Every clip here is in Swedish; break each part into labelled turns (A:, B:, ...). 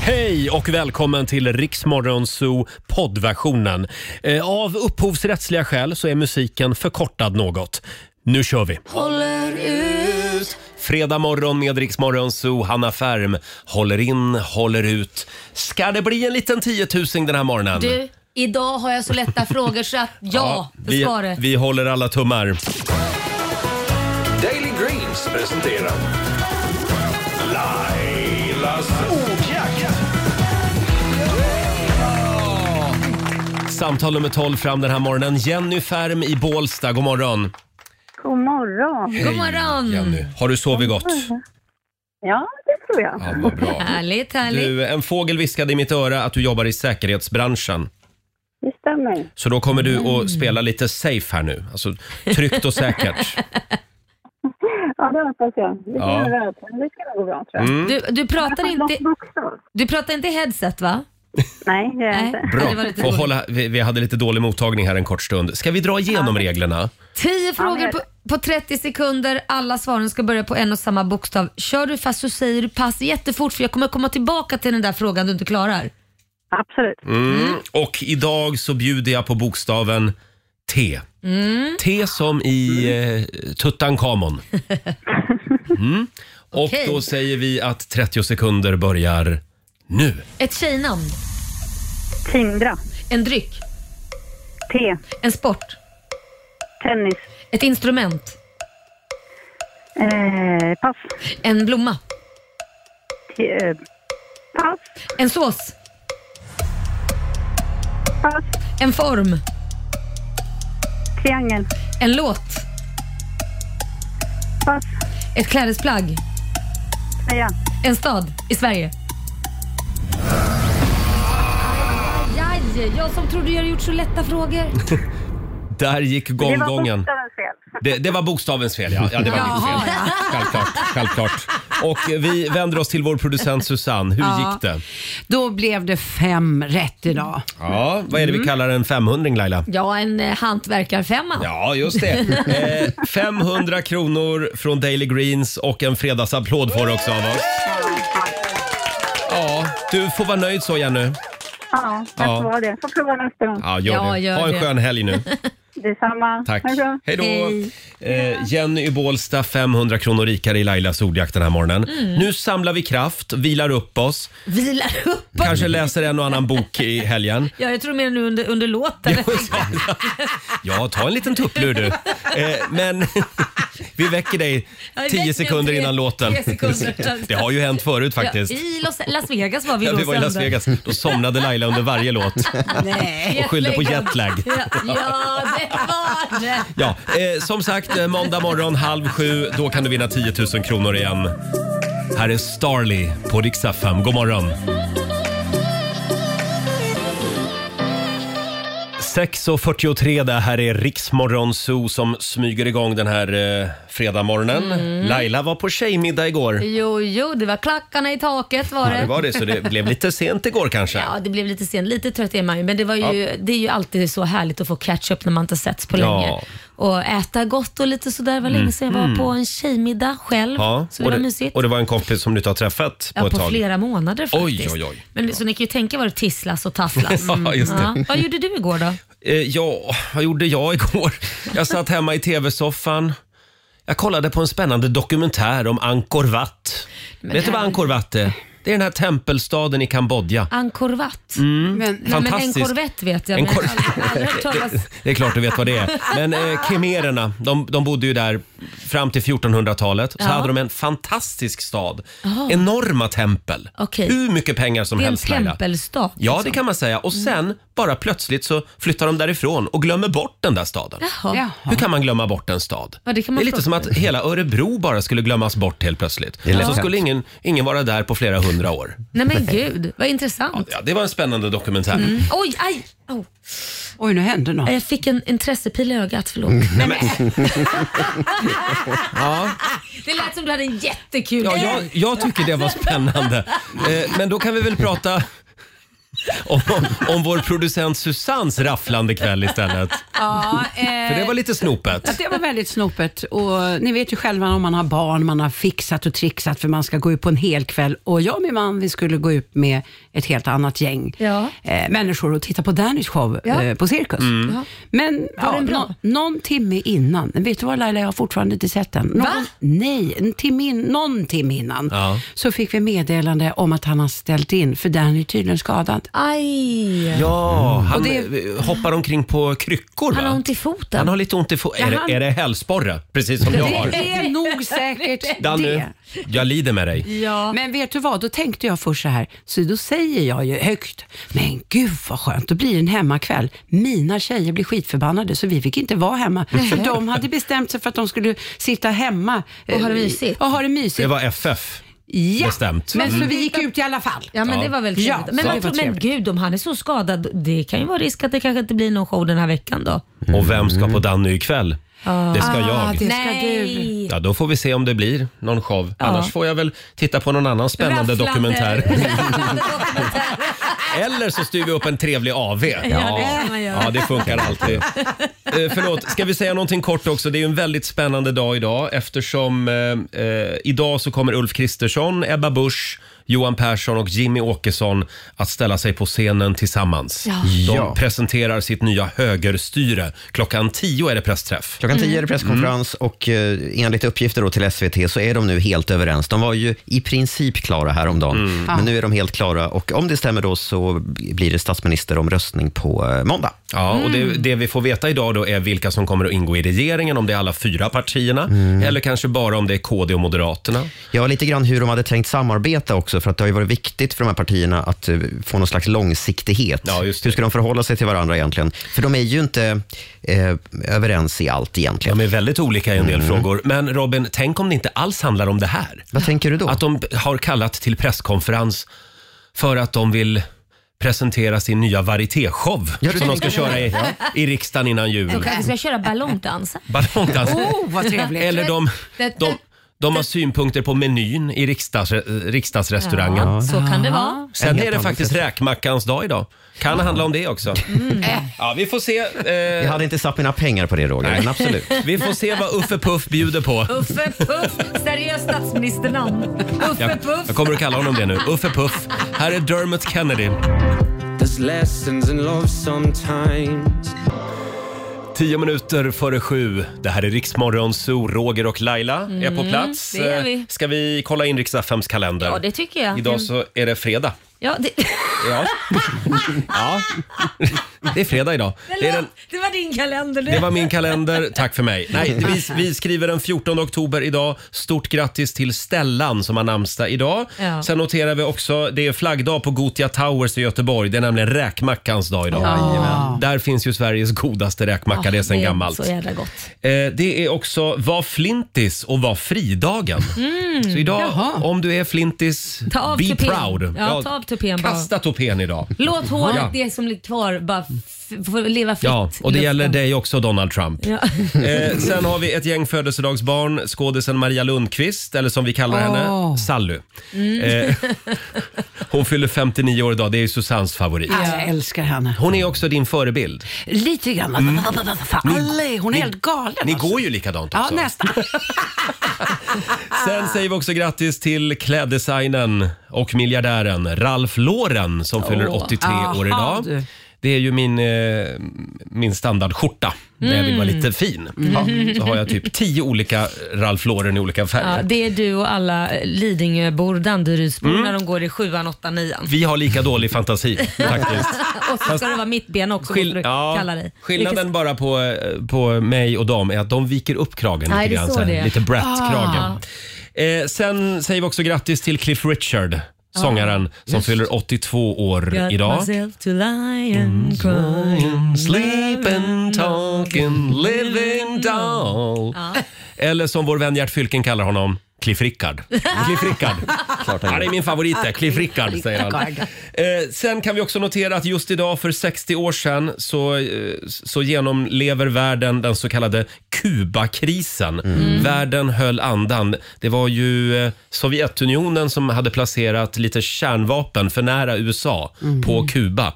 A: Hej och välkommen till Riksmorgon Zoo poddversionen. Eh, Av upphovsrättsliga skäl så är musiken förkortad något. Nu kör vi!
B: Håller ut.
A: Fredag morgon med Riksmorgon Zoo, Hanna Färm håller in, håller ut. Ska det bli en liten tiotusing den här morgonen?
B: Du, idag har jag så lätta frågor så att ja, det
A: vi,
B: ska det.
A: vi håller alla tummar.
C: Daily Greens presenterar Lailas ordjakt.
A: Samtal nummer 12 fram den här morgonen. Jenny Färm i Bålsta, god morgon.
D: God morgon.
A: Hej,
B: God morgon.
A: Jenny. Har du sovit gott?
D: Ja, det tror jag.
A: Ja, vad bra.
B: Härligt, härligt.
A: Du, en fågel viskade i mitt öra att du jobbar i säkerhetsbranschen.
D: Det stämmer.
A: Så då kommer du
B: Mm.
A: att spela lite safe här nu. Alltså tryggt och säkert.
D: Ja, det hoppas jag. Det ska,
A: Ja. Mm.
D: nog vara- det ska nog gå bra, tror jag.
B: Du, du, pratar
D: Jag har
B: inte,
D: fått loss också.
B: du pratar inte i headset va?
D: Nej, det är jag
B: Nej.
D: inte.
A: Bra.
B: Det var lite
A: Får
B: dåligt.
A: hålla, vi, vi hade lite dålig mottagning här en kort stund. Ska vi dra igenom reglerna?
B: Tio frågor
D: men-
B: på, på 30 sekunder. Alla svaren ska börja på en och samma bokstav. Kör du fast så säger du pass jättefort för jag kommer komma tillbaka till den där frågan du inte klarar.
D: Absolut.
A: Mm. Och idag så bjuder jag på bokstaven T.
B: Mm.
A: T som i eh, Tutankhamon. Mm. Och
B: Okej.
A: då säger vi att 30 sekunder börjar nu.
B: Ett tjejnamn,
D: Tindra.
B: en dryck,
D: T.
B: en sport,
D: Tennis.
B: ett instrument,
D: Eh, pass.
B: en blomma,
D: T, eh, pass.
B: en sås,
D: Pass.
B: en form,
D: Triangel.
B: en låt,
D: Pass.
B: ett klädesplagg,
D: Ja.
B: en stad i Sverige. Jaj, jag som trodde jag hade gjort så lätta frågor.
A: Där gick
D: Det var
A: gonggongen.
D: bokstavens fel.
A: Det, det var bokstavens fel, ja. ja det var mitt
B: Jaha,
A: fel. Självklart, självklart. Och eh, vi vänder oss till vår producent Susanne. Hur
E: Ja.
A: gick det?
E: Då blev det fem rätt idag.
A: Ja, vad är det vi kallar en 500 Laila?
B: Ja, en eh, hantverkarfemma.
A: Ja, just det. Eh, 500 kronor från Daily Greens och en fredagsapplåd får du också av oss. Ja, du får vara nöjd så Jenny.
D: Ja, jag
A: Ja.
D: får vara det. Får prova nästa gång.
A: Ja, gör
B: Ja,
A: det.
B: gör
A: ha en
B: det.
A: skön helg nu.
D: Detsamma.
A: Tack.
D: Ha det bra.
A: Hej då.
B: Hej.
A: Eh, Jenny i Bålsta, 500 kronor rikare i Lailas ordjakt den här morgonen. Nu samlar vi kraft, vilar upp oss,
B: Vilar upp.
A: kanske läser en och annan bok i helgen.
B: Ja, jag tror mer nu under, under låten.
A: Ja, ta en liten tupplur du. Eh, men vi väcker dig
B: Ja, vi väcker
A: tio
B: dig
A: sekunder
B: tre-
A: innan låten.
B: tre sekunder.
A: Det har ju hänt förut faktiskt.
B: Ja, I Los, Las Vegas var vi
A: Ja,
B: då
A: vi var i Las
B: söndag.
A: Vegas. Då somnade Laila under varje låt
E: Nej.
A: och skyllde på jetlag.
B: Ja, ja, det var det.
A: Ja, eh, som sagt, eh, måndag morgon halv sju, då kan du vinna 10 000 kronor igen. Här är Starly på Rix FM. God morgon! 6.43, det här är Riksmorgon Zoo som smyger igång den här eh, fredagmorgonen. Laila var på tjejmiddag igår.
B: Jo, jo, Mm. det var klackarna i taket var
A: Ja, det var det, så det blev lite sent igår kanske.
B: Ja, det blev lite sent. Lite trött är man ju, men det, var ju, det är ju alltid så härligt att få catch-up när man inte setts på
A: Ja.
B: länge. Och äta gott och lite sådär. Det var länge sedan jag var på en tjejmiddag själv.
A: Mm. Ja,
B: så det
A: och,
B: var
A: det,
B: mysigt.
A: och det var en kompis som du inte har träffat
B: ja,
A: på ett
B: på
A: tag.
B: flera månader
A: Oj,
B: faktiskt.
A: oj, oj.
B: Men, Så ni kan ju tänka vad det tisslas och tasslas. Mm.
A: Ja, just det.
B: Ja. Vad gjorde du igår då?
A: Eh, ja, vad gjorde jag igår? Jag satt hemma i tv-soffan. Jag kollade på en spännande dokumentär om Angkor Wat. Vet du vad Angkor Wat är? Det är den här tempelstaden i Kambodja. Mm.
B: Angkor Wat?
E: Men,
B: Nej, men en
A: fantastisk.
B: korvett vet jag.
A: En
B: men jag har
A: kor-
B: aldrig- aldrig hört talas-
A: Det är klart du vet vad det är. Men eh, kemererna, de, de bodde ju där fram till 1400-talet. Så
B: Ja.
A: hade de en fantastisk stad. Enorma tempel.
B: Okej.
A: Hur mycket pengar som
B: Det är en
A: helst
B: liksom.
A: Laila.
B: tempelstad. Mm.
A: Ja, det kan man säga. Och sen, bara plötsligt så flyttar de därifrån och glömmer bort den där staden.
B: Jaha.
E: ja.
A: Hur kan man glömma bort en stad?
B: Ja, det kan man
A: är lite
B: fråga
A: som att hela Örebro bara skulle glömmas bort helt plötsligt.
F: är
A: Och så
F: lätt
A: skulle ingen, ingen vara där på flera hundra år.
B: Nej men gud, vad intressant. Mm.
A: Ja, det var en spännande dokumentär.
B: Oj, aj! Oh.
E: Oj, nu hände något.
B: Jag fick en intressepil i ögat, förlåt. Nej, men.
A: Mm.
B: Det lät som du hade en jättekul
A: Ja, jag, jag tycker det var spännande. Eh, men då kan vi väl prata... om, om vår producent Susans rafflande kväll istället.
E: Ja, eh,
A: För det var lite snopet.
E: att det var väldigt snopet. Och ni vet ju själva om man har barn, man har fixat och trixat för man ska gå ut på en hel kväll. Och jag och min man, vi skulle gå ut med ett helt annat gäng
B: Ja.
E: eh, människor och titta på Dannys show
B: Ja.
E: eh, på Cirkus.
A: Mm.
G: Mm.
B: Ja.
E: Men ja,
B: den bra?
E: nå- någon timme innan, vet du vad Laila, jag har fortfarande inte sett den. Någon,
B: Va?
E: Nej, en timme in, någon timme innan
A: Ja.
E: så fick vi meddelande om att han har ställt in för Danny är tydligen skadad.
B: Aj!
A: Ja, han
E: Och det-
A: eh, hoppar omkring på kryckor va?
B: Mm. Han har ont i foten.
A: Han har lite ont i foten. Är,
E: han-
A: det- är det hälsporre? Precis som jag
E: Det,
A: har.
E: det är nog säkert
A: Danny,
E: det.
A: jag lider med dig.
B: Ja.
E: Men vet du vad, då tänkte jag först så här, så då säger jag ju högt, men gud vad skönt, då blir det en hemmakväll. Mina tjejer blir skitförbannade så vi fick inte vara hemma. För de hade bestämt sig för att de skulle sitta hemma. eh,
B: ha det mysigt.
E: Och ha det mysigt.
A: Det var FF.
E: ja.
A: bestämt. Mm.
E: Men så vi gick ut i alla fall.
B: Ja men
A: Ja.
B: det var väl
E: Ja,
B: trevligt. men,
E: så
B: man
E: det var
B: tror, men
E: trevligt.
B: gud om han är så skadad, det kan ju vara risk att det kanske inte blir någon show den här veckan då.
A: Och vem ska på Danny ikväll? Det ska jag.
E: Ah, det- ska
B: Nej.
A: Ja, då får vi se om det blir någon show. Annars får jag väl titta på någon annan spännande
B: Rafflande-
A: dokumentär.
B: Rafflande dokumentär.
A: Eller så styr vi upp en trevlig AV. Ja,
B: det kan man göra.
A: ja, det funkar alltid. Eh, förlåt, ska vi säga någonting kort också? Det är ju en väldigt spännande dag idag eftersom eh, eh, idag så kommer Ulf Kristersson, Ebba Busch, Johan Persson och Jimmy Åkesson att ställa sig på scenen tillsammans. De
F: Ja.
A: presenterar sitt nya högerstyre. Klockan 10 är det pressträff.
F: Klockan 10 är det presskonferens
A: Mm.
F: och eh, enligt uppgifter då till SVT så är de nu helt överens. De var ju i princip klara häromdagen,
A: Mm.
F: men nu är de helt klara och om det stämmer då så blir det statsministeromröstning på eh, måndag.
A: Mm. Ja, och det, det vi får veta idag då är vilka som kommer att ingå i regeringen, om det är alla fyra partierna
F: Mm.
A: eller kanske bara om det är KD och Moderaterna.
F: Ja, lite grann hur de hade tänkt samarbeta också, för att det har ju varit viktigt för de här partierna att eh, få någon slags långsiktighet.
A: Ja, just det.
F: hur ska de förhålla sig till varandra egentligen? För de är ju inte eh, överens i allt egentligen.
A: De är väldigt olika i en del frågor. Men Robin, tänk om det inte alls handlar om det här?
F: Mm. Vad tänker du då?
A: Att de har kallat till presskonferens för att de vill presentera sin nya varietéshow
F: Ja, du
A: som de ska
F: tänker så.
A: köra i, i riksdagen innan
B: Då
A: jul.
B: kanske vi ska köra ballongdansen.
A: Ballongdans.
E: Oh, vad trevligt.
A: Eller de, de, de har synpunkter på menyn i riksdags, riksdagsrestaurangen.
B: Ja, så kan det vara.
A: Sen
F: En helt
A: är det
F: annan
A: faktiskt räkmackans dag idag. Kan handla om det också.
B: mm.
A: Ja, vi får se.
F: Jag
A: Eh,
F: hade inte satt mina pengar på det Roger, men absolut.
A: vi får se vad Uffe Puff bjuder på.
B: Uffe Puff, seriöst statsministernamn. Uffe
A: Jag,
B: Puff.
A: jag kommer att kalla honom det nu. Uffe Puff. Här är Dermot Kennedy.
H: There's lessons in love sometimes.
A: Tio minuter före sju. Det här är Riksmorgon Zoo. Roger och Laila är på plats.
B: Mm, det är vi.
A: Eh, Ska vi kolla in riks kalender?
B: Ja det tycker jag.
A: Idag så är det fredag.
B: Ja, det...
A: Ja. ja. Det är fredag idag. Det, är den,
B: det var din kalender
A: det var min kalender. Tack för mig. Nej, vi, vi skriver den 14 oktober idag. Stort grattis till Stellan som har namnsdag idag.
B: Ja.
A: Sen noterar vi också, det är flaggdag på Gotia Towers i Göteborg. Det är nämligen räkmackans dag idag. Där finns ju Sveriges godaste räkmacka, det är sedan gammalt.
B: Så jävla gott.
A: Eh, Det är också var flintis och var fridagen. Så idag, om du är flintis,
B: Mm. Ta av
A: be
B: tupén.
A: proud.
B: Ja, ta av tupén bara.
A: Kasta tupén idag.
B: Låt håret,
A: Ja.
B: det som ligger kvar, bara f- få leva fritt.
A: Ja, och det
B: i
A: gäller
B: luften.
A: dig också Donald Trump.
B: Ja.
A: Eh, sen har vi ett gäng födelsedagsbarn, skådisen Maria Lundqvist, eller som vi kallar henne,
E: Åh. Mm.
A: Sally.
B: Mm.
A: Eh, hon fyller 59 år idag, det är ju Susans favorit.
E: Ja, Jag älskar henne.
A: Hon är också din förebild.
E: Lite grann. Fan, Alle, hon är helt galen.
A: Mm. Ni
E: alltså.
A: går ju likadant
E: Ja, ah.
A: också.
E: nästan.
A: Sen säger vi också grattis till kläddesignern och miljardären Ralph Lauren som fyller 83 år
E: aha,
A: idag.
E: Ah, du.
A: Det är ju min, eh, min standardskjorta när jag vill
E: Mm.
A: vara lite fin. Ja, så har jag typ tio olika Ralph Lauren i olika färger.
B: Ja, det är du och alla Lidingöbor, Danderydsbor
A: Mm.
B: när de går i sjuan, åttan, nian.
A: Vi har lika dålig fantasi faktiskt.
B: Och så ska det vara mittben också,
A: Skill-
B: måste du
A: ja,
B: kalla dig.
A: skillnaden bara på, eh, på mig och dem är att de viker upp kragen
B: Nej, det
A: lite
B: är
A: grann.
B: så
A: så här.
B: det Ah. är.
A: Lite Brat-kragen. Eh, sen säger vi också grattis till Cliff Richard,
B: Ah.
A: sångaren som fyller 82 år
B: Got
A: idag. Mm.
B: myself to lie and cry.
A: Sleeping, talking, living doll. Eller som vår vän Gert Fylking kallar honom, Cliff Rickard. Cliff Rickard.
F: Klart han
A: Ja, det är min favorit där. Cliff Rickard säger han.
E: Rickard.
A: Eh, sen kan vi också notera att just idag för 60 år sedan så, eh, så genomlever världen den så kallade Kubakrisen.
F: Mm.
A: Världen höll andan. Det var ju eh, Sovjetunionen som hade placerat lite kärnvapen för nära USA på Kuba.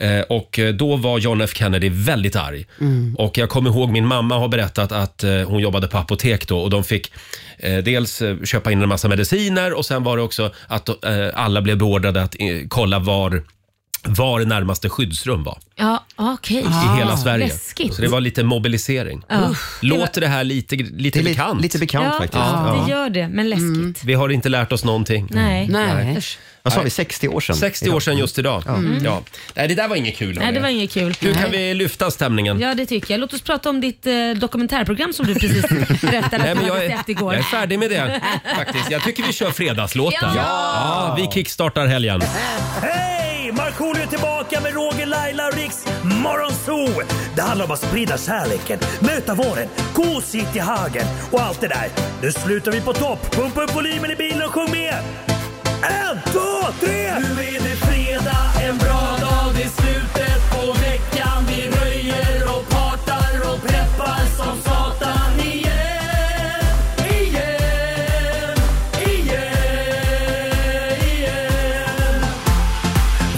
A: Eh, och eh, då var John F Kennedy väldigt arg.
B: Mm.
A: Och jag kommer ihåg min mamma har berättat att eh, hon jobbade på apotek då och de fick eh, dels eh, köpa in en massa mediciner och sen var det också att eh, alla blev beordrade att eh, kolla var var närmaste skyddsrum var
B: Ja, okej.
A: i hela Sverige.
B: Ah, Läskigt.
A: Så det var lite mobilisering.
B: Ja.
A: Låter det här lite,
F: Det
A: lite
F: är
A: bekant?
F: li- lite bekant
B: Ja,
F: faktiskt.
B: det
F: Ja. Mm.
B: gör det, men läskigt.
A: Vi har inte lärt oss någonting.
B: Nej.
E: Nej.
B: Usch.
F: Vad sa vi, 60 år sedan?
A: 60 år sedan just idag. Ja. Nej, det där var inget kul.
B: Mm. Nej,
A: hörni.
B: det var inget kul.
A: Hur kan
B: Nej.
A: vi lyfta stämningen?
B: Ja, det tycker jag. Låt oss prata om ditt eh, dokumentärprogram som du precis berättade
A: Nej,
B: att
A: men
B: du
A: jag,
B: hade
A: är,
B: sett igår.
A: jag är färdig med det faktiskt. Jag tycker vi kör fredagslåten.
B: Ja!
A: ja vi kickstartar helgen.
I: Hej! Markoolio är tillbaka med Roger, Laila och Riks Morgonzoo! Det handlar om att sprida kärleken, möta våren, gosigt i hagen och allt det där. Nu slutar vi på topp! Pumpa upp volymen i bilen och sjung med! En, två, tre! Nu är det fredag, en bra dag, det är slutet på veckan. Vi röjer och partar och peppar som satan igen, igen, igen, igen.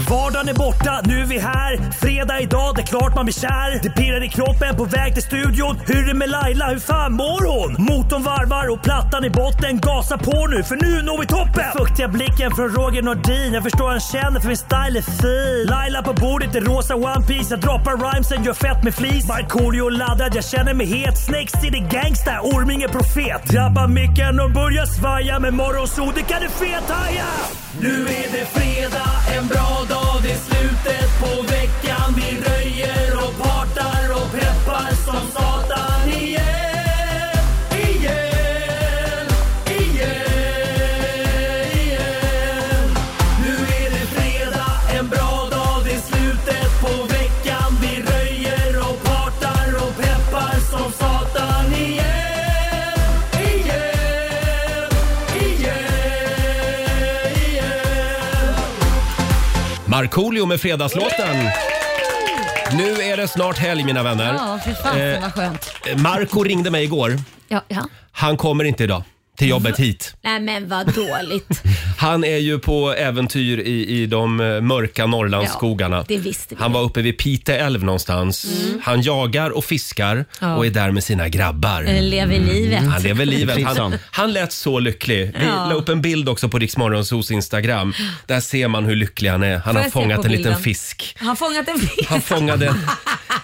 I: Vardagen är borta, nu är vi här. Fredag idag, det är klart man blir kär. Det pirrar i kroppen på väg till studion. Hur är det med Laila, hur fan mår hon? Motorn varvar och plattan i botten. Gasa på nu, för nu når vi toppen! Den fuktiga blicken från Roger Nordin. Jag förstår han känner, för min style är fin. Laila på bordet i rosa One Piece Jag droppar rhymesen, gör fett med flis. Markoolio laddad, jag känner mig het. Snake City gangsta, Orming är profet. Drabbar micken och börjar svaja. Med morgonsol, det kan du fethaja! Nu är det fredag, en bra dag, det är slutet på veckan. Vi röjer och partar och peppar som satan igen, igen, igen, igen. Nu är det fredag, en bra dag, det är slutet på veckan. Vi röjer och partar och peppar som satan igen, igen, igen, igen.
A: Markoolio med fredagslåten. Nu är det snart helg mina vänner.
B: Ja, fy fasen
A: Eh,
B: vad skönt.
A: Marco ringde mig igår.
B: Ja, ja.
A: Han kommer inte idag till jobbet
B: Mm.
A: hit.
B: Nej men vad dåligt.
A: Han är ju på äventyr i, i de eh, mörka Norrlandsskogarna.
B: Ja, det visste vi.
A: Han var uppe vid Pite älv någonstans. Han jagar och fiskar
B: Mm. Ja. Eh,
A: och är där med sina grabbar. Mm.
B: Lever livet.
A: Han lever livet. Han,
F: Trivsam.
A: han lät så lycklig. Vi
B: Ja.
A: la upp en bild också på Riksmorgonsos Instagram. Där ser man hur lycklig han är. Han
B: Får
A: har
B: jag se
A: fångat
B: på
A: en liten
B: bilden?
A: fisk.
B: Han har fångat en fisk.
A: Han fångade en,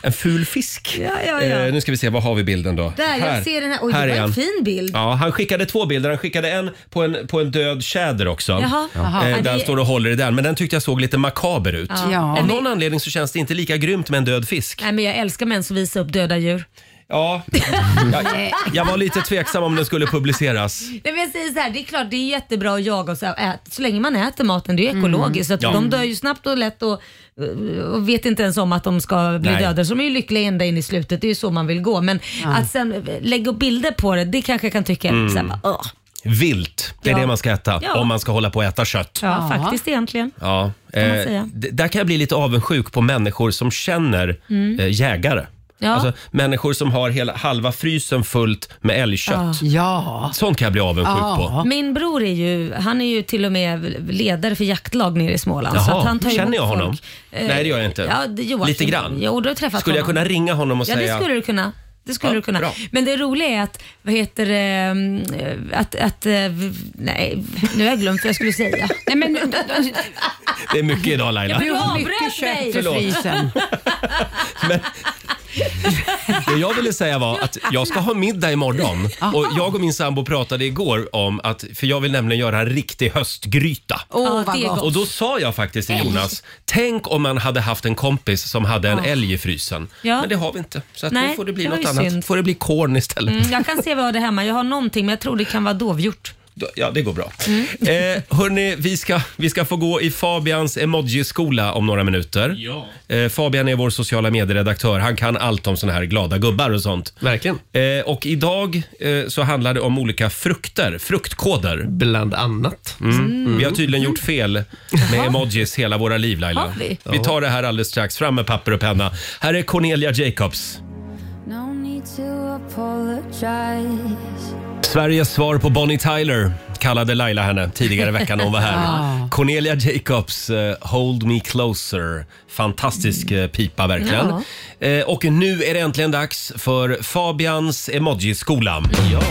A: en ful fisk.
B: Ja, ja, ja.
A: Eh, nu ska vi se, vad har vi bilden då?
B: Där, jag ser den här. Oj, det var en fin bild.
A: Ja, han skickade två bilder. Han skickade en på en, på en död tjäder också.
B: Jaha. Jaha.
A: Eh,
B: Ja, det-
A: där han står och håller i den. Men den tyckte jag såg lite makaber ut.
E: Ja.
A: Av någon anledning så känns det inte lika grymt med en död fisk.
B: Nej men jag älskar män som visar upp döda djur.
A: Ja, jag, jag var lite tveksam om den skulle publiceras.
B: Nej men jag säger så här, det är klart det är jättebra att jaga och så, här, ät, så länge man äter maten, det är ju ekologiskt. Så att
A: Mm. Ja.
B: De dör ju snabbt och lätt och, och vet inte ens om att de ska bli
A: Nej.
B: döda. Så de är ju lyckliga ända in i slutet, det är ju så man vill gå. Men att sen eh, lägga upp bilder på det, det kanske jag kan tycka
A: Mm.
B: så här, bara, åh.
A: Vilt, det är
B: Ja.
A: det man ska äta
B: Ja.
A: om man ska hålla på och äta kött.
B: Ja,
E: Ja.
B: faktiskt egentligen.
A: Ja,
B: man
A: eh,
B: säga.
A: d- där kan jag bli lite avundsjuk på människor som känner eh, jägare.
B: Mm. Ja.
A: Alltså, människor som har hela, halva frysen fullt med älgkött.
E: Ja.
A: Sånt kan jag bli avundsjuk på.
B: Min bror är ju, han är ju till och med ledare för jaktlag nere i Småland. så
A: Jaha,
B: Alltså, att han tar
A: känner
B: emot
A: jag honom?
B: folk. Eh,
A: Nej, det gör jag inte.
B: Ja, det, Joakim.
A: Lite grann.
B: Jo, du har träffat
A: Skulle jag
B: honom.
A: kunna ringa honom och
B: Ja,
A: säga...
B: det skulle du kunna. Det skulle
A: Ja,
B: du kunna.
A: bra.
B: Men det roliga är att, vad heter det, mm, att, att eh, v- nej, nu har jag glömt vad jag skulle säga. Mm,
E: Nej, men,
A: Det är mycket idag Laila.
E: du har mycket
B: avbröt mig.
E: kött i
A: Förlåt.
E: frysen.
A: Det jag ville säga var att jag ska ha middag imorgon. Och jag och min sambo pratade igår om att, för jag vill nämligen göra en riktig höstgryta.
E: Åh,
B: Ja,
E: vad
B: det är
E: gott.
B: gott.
A: Och då sa jag faktiskt till
B: Älg.
A: Jonas, tänk om man hade haft en kompis som hade en älg i frysen.
B: Ja.
A: Men det har vi inte. Så att nu
B: Nej,
A: får det bli
B: det var
A: något
B: ju
A: annat.
B: synd.
A: får det bli korn istället.
B: Mm, Jag kan se vad jag har det hemma. Jag har någonting men jag tror det kan vara dovhjort.
A: Då- Ja, det går bra. Eh, hörni, vi ska, vi ska få gå i Fabians emoji-skola om några minuter. Eh, Fabian är vår sociala medieredaktör. Han kan allt om såna här glada gubbar och sånt.
J: Verkligen.
A: Eh, och idag eh, så handlar det om olika frukter, fruktkoder.
J: Bland annat.
A: Mm. Vi har tydligen gjort fel med emojis hela våra liv Laila.
B: Har vi?
A: vi tar det här alldeles strax. Fram med papper och penna. Här är Cornelia Jacobs.
K: No need to apologize.
A: Sveriges svar på Bonnie Tyler kallade Laila henne tidigare i veckan när hon var här.
K: Ah.
A: Cornelia Jacobs, eh, Hold Me Closer. Fantastisk eh, pipa verkligen. Eh, och nu är det äntligen dags för Fabians emojiskola. Ja.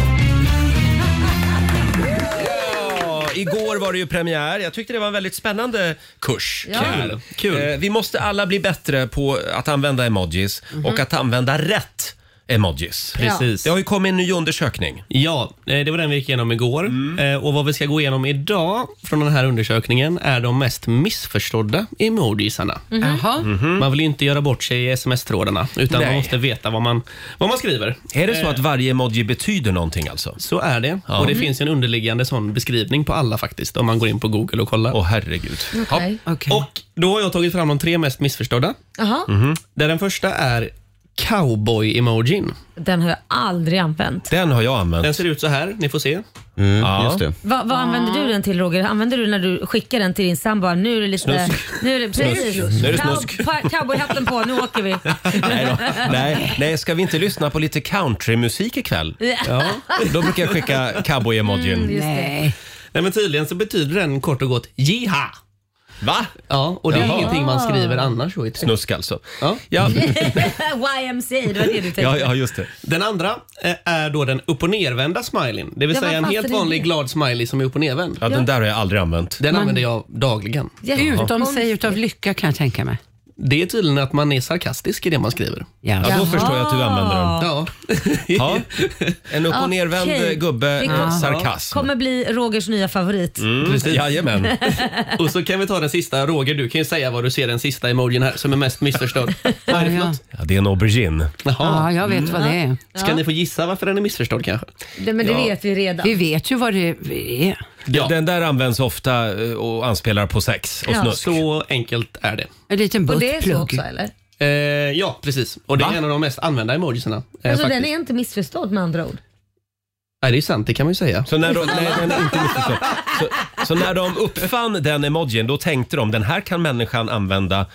A: Igår var det ju premiär. Jag tyckte det var en väldigt spännande kurs.
J: Ja. Kul.
A: Eh, Vi måste alla bli bättre på att använda emojis och att använda rätt emojis.
J: Mhm. Precis.
A: Det har ju kommit en ny undersökning. Mm.
J: Ja, eh, det var den vi gick igenom igår. Eh, Och Vad vi ska gå igenom idag från den här undersökningen är de mest missförstådda emojisarna.
E: Mhm.
B: Mm-hmm.
E: Jaha.
J: Man vill ju inte göra bort sig i sms-trådarna, utan
A: Nej.
J: man måste veta vad man, vad man skriver. Eh.
A: Är det så att varje emoji betyder någonting alltså?
J: Så är det.
A: Ja.
J: Och det
A: Mm.
J: finns ju en underliggande sån beskrivning på alla faktiskt, om man går in på Google och kollar. Åh,
A: herregud.
B: Okej.
J: Och då har jag tagit fram de tre mest missförstådda.
B: Jaha.
A: Mhm.
J: Där den första är cowboy-emojin.
B: Den har jag aldrig använt.
A: Den har jag använt.
J: Den ser ut så här, ni får se.
A: ja. just det.
B: Va, vad använder du den till Roger? Använder du när du skickar den till din sambo? Nu är det lite...
A: Snusk.
B: Nu är det, precis.
A: Snusk. Nu är det snusk.
B: Cow- Cowboyhatten på, nu åker vi.
A: Nej, då. Nej. Nej, ska vi inte lyssna på lite countrymusik ikväll?
B: Ja. Mm,
A: Då brukar jag skicka cowboy-emojin.
E: Mm,
J: Nej. Nej, men tydligen så betyder den kort och gott jiha.
A: Va?
J: Ja, och det är
A: Jaha.
J: ingenting man skriver annars. Så
A: Snusk alltså.
J: Ja.
B: YMCA, det var det du tänkte.
A: just det.
J: Den andra eh, är då den upp och nervända smileyn. Det vill
B: Ja,
J: säga en
B: varför
J: helt
B: det?
J: vanlig glad smiley som är upp och nervänd.
A: Ja, den där har jag aldrig använt.
J: Den
E: Man-
J: använder jag dagligen.
E: Utom sig utav lycka kan jag tänka mig.
J: Det är tydligen att man är sarkastisk i det man skriver.
E: Ja,
A: då Jaha. förstår jag att du använder den.
J: Ja.
A: Ja. En upp
B: Okej.
A: och nervänd eh, gubbe,
B: Det
A: eh,
B: kom-
A: sarkasm.
B: kommer bli Rogers nya favorit.
A: Mm,
J: Precis.
A: Jajamän.
J: Och så kan vi ta den sista. Roger, du kan ju säga vad du ser den sista emojin här som är mest missförstådd. Vad är det för
B: Alltså,
J: något?
A: Ja, det är en aubergine.
J: Jaha. Mm.
E: Ja, jag vet vad det är.
J: Ska ni få gissa varför den är missförstådd kanske?
B: Det, men det
J: Ja.
B: vet vi redan.
E: Vi vet ju vad det är.
J: Ja.
A: Den där används ofta eh, och anspelar på sex och
B: Ja.
A: snusk.
J: Så enkelt är det.
E: En liten
B: Och det är så också
E: buttplugg.
B: eller?
J: Eh, ja, precis. Och det
A: Va?
J: är en av de mest använda emojisarna. Eh,
B: Alltså,
J: faktiskt.
B: den är inte missförstådd med andra ord.
J: Nej, det är sant. Det kan man ju säga.
A: Så när, de, nej, den är inte missförstådd. så, så när de uppfann den emojin, då tänkte de den här kan människan använda
B: Det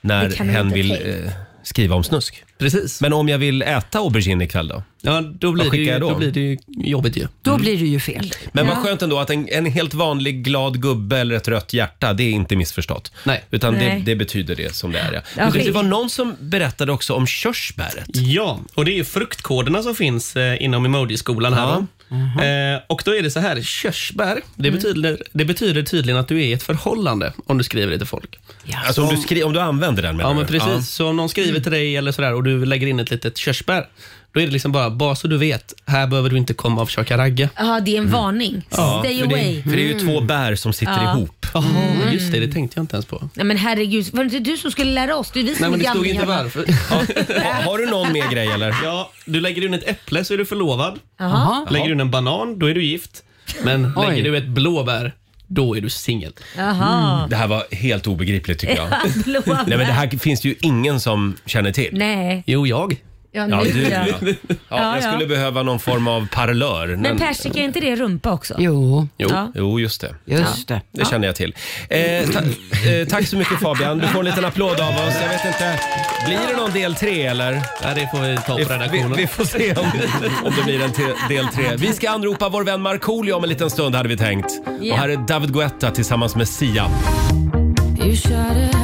A: när
B: kan man
A: hen
B: inte
A: vill
B: tänka.
A: eh, skriva om snusk.
J: Precis.
A: Men om jag vill äta aubergine ikväll då?
J: Ja, då blir, det
A: skickar
J: ju,
A: jag då?
J: då? blir det ju jobbigt ju.
E: Då blir det ju fel.
A: Men vad skönt ändå att en, en helt vanlig glad gubbe eller ett rött hjärta, det är inte missförstått.
J: Nej.
A: Utan det,
B: Nej.
A: det betyder det som det är. Ja.
B: Ja,
A: Men det
B: skit.
A: var någon som berättade också om körsbäret.
J: Ja, och det är ju fruktkoderna som finns eh, inom emojiskolan här.
A: Ja.
J: då.
L: Mhm.
J: Eh, och då är det så här, körsbär, det,
B: Mm.
J: betyder, det betyder tydligen att du är i ett förhållande om du skriver det till folk.
A: Alltså om du, skri- om du använder den menar
J: Ja, men
A: du?
J: precis. Så om någon skriver till dig eller sådär och du lägger in ett litet körsbär, då är det liksom bara, bara så du vet, här behöver du inte komma och försöka ragga.
B: Ja, det är en varning.
A: Mm. Ja,
B: Stay
A: för
B: away. Mm.
A: Det, för det är ju två bär som sitter
B: Ja. Mm.
A: ihop.
J: Jaha, just det, det tänkte jag inte ens på.
B: Nej men herregud, var det inte du som skulle lära oss? Det är vi som
J: Nej, men
B: är
J: det stod
B: gamlingar,
J: inte
B: va?
J: varför.
A: Ha, har du någon mer grej eller?
J: Ja, du lägger in ett äpple så är du förlovad.
B: Jaha.
J: Lägger du in en banan, då är du gift. Men
E: Oj.
J: lägger du ett blåbär, då är du singel.
B: Jaha.
A: Mm. Det här var helt obegripligt tycker jag.
B: Blåa
A: Nej men det
B: bär.
A: här finns det ju ingen som känner till.
B: Nej.
J: Jo, jag.
B: Ja,
A: Ja,
B: nu
A: du, ja.
B: ja.
A: Ja,
B: Ja,
A: jag
B: ja.
A: skulle behöva någon form av parlör.
B: Men
A: Men,
B: persika, är inte det rumpa också?
E: Jo,
J: Jo.
B: Ja.
A: jo, just det.
E: just det.
A: Det känner jag till. Eh, ta, eh, tack så mycket Fabian. Du får en liten applåd av oss. Jag vet inte, blir det någon del tre eller?
J: Ja, det får vi ta på
A: Vi,
J: redaktionen.
A: vi får se om, om det blir en te- del tre. Vi ska anropa vår vän Markoolio om en liten stund hade vi tänkt. Och
B: Ja.
A: här är David Guetta tillsammans med Sia.
K: You shut it out.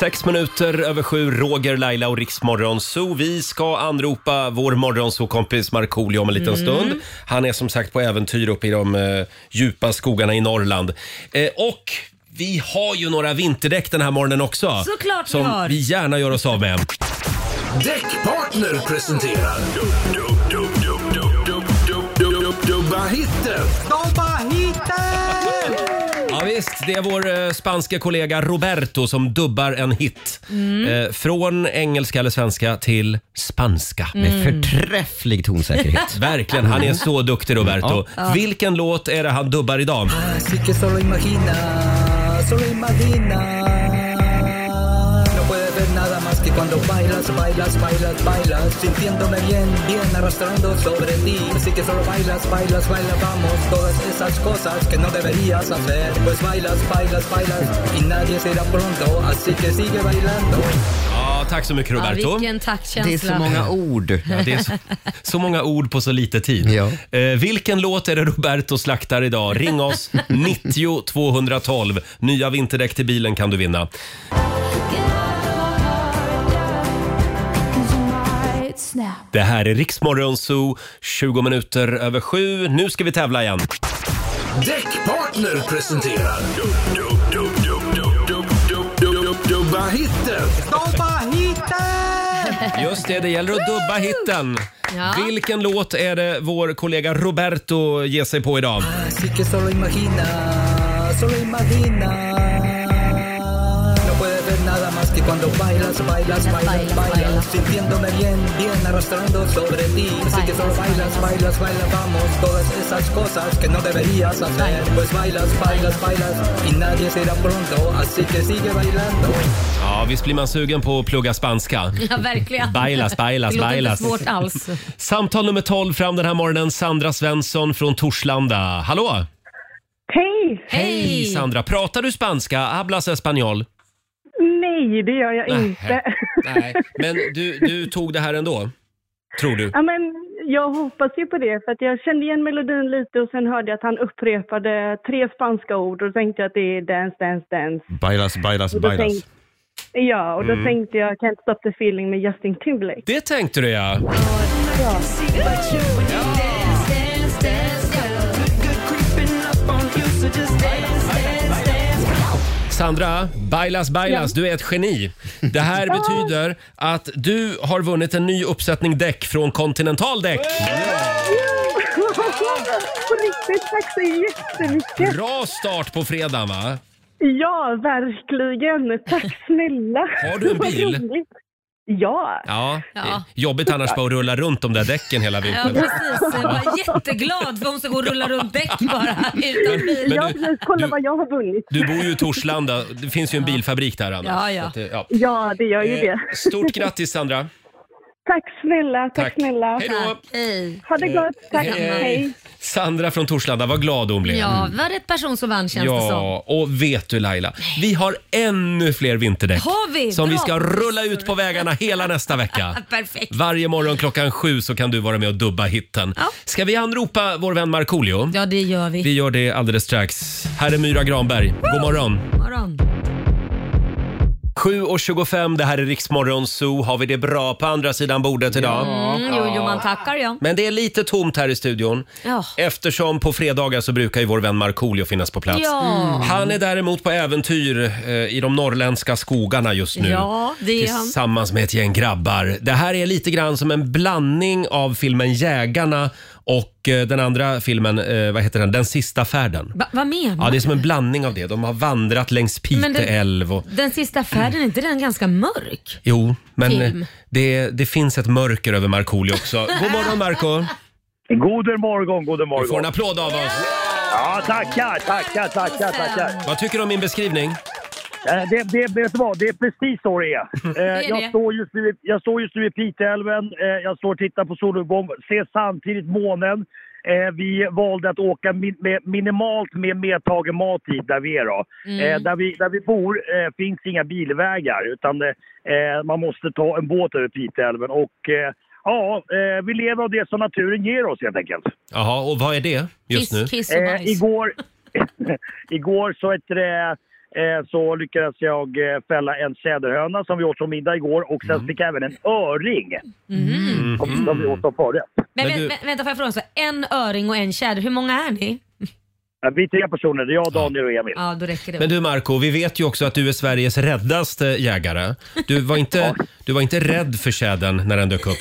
A: Sex minuter över sju, Roger, Laila och Riksmorgon Zoo. Vi ska anropa vår morgonzoo-kompis Markoolio om en
B: Mm.
A: liten stund. Han är som sagt på äventyr uppe i de eh, djupa skogarna i Norrland. Eh, och vi har ju några vinterdäck den här morgonen också.
B: Såklart vi
A: Som
B: har.
A: vi gärna gör oss av med.
C: Däckpartner presenterar... Dubb, dubb, dubb, dubb, dubb, dubb, dubb, dubb, dubb, Dubba hitten!
A: Ja, vi visst, det är vår eh, spanska kollega Roberto som dubbar en hit.
B: Mm.
A: Eh, från engelska eller svenska till spanska.
B: Med Mm.
A: förträfflig
F: tonsäkerhet.
A: Verkligen, han är så duktig Roberto.
M: Ja.
A: Vilken låt är det han dubbar idag?
M: Así que solo imagina, solo imagina. No puedes ver nada más que cuando bailas, bailas, bailas, bailas. Sintiéndome bien, bien arrastrando sobre ti. Así que solo bailas, bailas, bailas, vamos. Todas esas cosas que no deberías hacer. Pues bailas, bailas, bailas. Y nadie se irá pronto, así que sigue bailando.
A: Ja, tack så mycket Roberto.
B: Ja, vilken taktkänsla.
A: ord. Ja, det är så, så många ord på så lite tid. Eh, vilken låt är det Roberto slaktar idag? Ring oss, 90 212. Nya vinterdäck till bilen kan du vinna. Det här är Riksmorgon Zoo, 20 minuter över sju. Nu ska vi tävla igen.
C: Däckpartner presenterar... Dubb, dubb, dubb, dubb, dubb, dubb, dubb, dubb, dubb, Dubba hitten!
M: Dubba
A: Just det, det gäller att dubba hitten.
M: Ja.
A: Vilken låt är det vår kollega Roberto ger sig på idag?
M: Así que solo imagina, solo imagina. No puedes ver nada más que cuando bailas, bailas, bailas, bailas. Sintiéndome bien, bien arrastrando sobre ti. Así que solo bailas, bailas, bailas, vamos. Todas esas cosas que no deberías hacer. Pues bailas, bailas, bailas. Y nadie se irá pronto, así que sigue bailando.
A: Ja, visst blir man sugen på att plugga spanska?
B: Ja, verkligen.
A: Bailas, bailas,
B: det låter
A: bailas.
B: inte svårt alls.
A: Samtal nummer 12 fram den här morgonen. Sandra Svensson från Torslanda. Hallå!
N: Hej!
A: Hej Sandra! Pratar du spanska? Hablas español?
N: Nej, det gör jag
A: Nej.
N: inte.
A: Nej, men du, du tog det här ändå? Tror du?
N: ja, men jag hoppas ju på det, för att jag kände igen melodin lite och sen hörde jag att han upprepade tre spanska ord och då tänkte jag att det är dance, dance, dance.
O: Bailas, bailas,
N: Och då
O: bailas.
N: tänkte- ja, och då
A: Mm.
N: tänkte jag Can't stop the feeling med Justin Timberlake.
A: Det tänkte du ja. Sandra, bailas bailas, du är ett geni. Det här betyder att du har vunnit en ny uppsättning däck från Continental Däck.
N: på riktigt, tack så jättemycket!
A: Bra start på fredagen va?
N: Ja, verkligen. Tack snälla.
A: Har du en
N: Vad
A: bil?
N: roligt. Ja.
A: Ja, det
B: Ja.
A: är jobbigt annars bara att rulla runt de där däcken hela
B: Ja,
A: vintern.
B: precis. Jag var jätteglad för hon ska gå och rulla runt däck bara utan bil.
A: Men du-
N: Kolla vad jag har vunnit.
A: Du bor ju i Torslanda, det finns ju en bilfabrik där annars.
N: Ja, ja.
A: Så att det- ja.
N: Ja, det gör ju
A: Eh,
N: det.
A: Stort grattis Sandra!
N: Tack snälla, tack,
A: Tack.
N: snälla.
A: Hej då.
N: Ha det gott, tack.
A: Eh,
N: Hej.
A: Sandra från Torslanda, vad glad hon blev.
B: Ja, var det ett person som vann känns det som.
A: Ja, och vet du Laila, vi har ännu fler vinterdäck
B: Har vi?
A: som vi
B: Bra.
A: ska rulla ut på vägarna hela nästa vecka.
B: Perfekt.
A: Varje morgon klockan sju så kan du vara med och dubba hitten. Ska vi anropa vår vän Markoolio?
B: Ja, det gör vi.
A: Vi gör det alldeles strax. Här är Myra Granberg. God morgon!
B: Morgon.
A: 7.25, det här är Riksmorgon Zoo. Har vi det bra på andra sidan bordet idag?
B: Mm, jo, jo, man tackar ja.
A: Men det är lite tomt här i studion.
B: Ja.
A: Eftersom på fredagar så brukar ju vår vän Markoolio finnas på plats.
B: Ja. Mm.
A: Han är däremot på äventyr eh, i de norrländska skogarna just nu.
B: Ja, det är han.
A: Tillsammans med ett gäng grabbar. Det här är lite grann som en blandning av filmen Jägarna och eh, den andra filmen, eh, vad heter den? Den sista färden.
B: Va, vad menar
A: Ja, det
B: du?
A: är som en blandning av det. De har vandrat längs Pite
B: Men det-
A: älv och...
B: Den sista färden, är inte den ganska mörk?
A: Jo, men
B: Film.
A: eh, det, det finns ett mörker över Markoolio också. God morgon Marco
P: God morgon, god morgon.
A: Du får en applåd av oss.
P: Ja, tackar, tackar, tackar, tackar.
A: Vad tycker du om min beskrivning?
P: Eh, Det, det, vet du vad? det är precis så det är.
A: är
P: Eh, Jag
A: det.
P: står just nu, i- jag står just nu i Piteälven. Eh, Jag står och tittar på soluppgång, ser samtidigt månen. Eh, Vi valde att åka min, med, minimalt med medtagen mat hit där vi är. Då.
G: Mm.
P: Eh, Där, vi, där vi bor eh, finns inga bilvägar utan eh, eh, man måste ta en båt över Piteälven. Och, eh, ja, eh, vi lever av det som naturen ger oss helt enkelt.
A: Jaha, och vad är det just nu?
P: Eh, igår, igår så, ett, eh, så lyckades jag eh, fälla en tjäderhöna som vi åt som middag igår och sen fick jag även en öring som, som vi åt som förrätt.
B: Men, vä- vä- vänta, får jag fråga? Så en öring och en tjäder, hur många är ni?
P: Ja, Vi är tre personer, det är jag, Daniel och Emil.
B: Ja, då räcker det.
A: Men du Marco, vi vet ju också att du är Sveriges räddaste jägare. Du var inte, du var inte rädd för tjädern när den dök upp.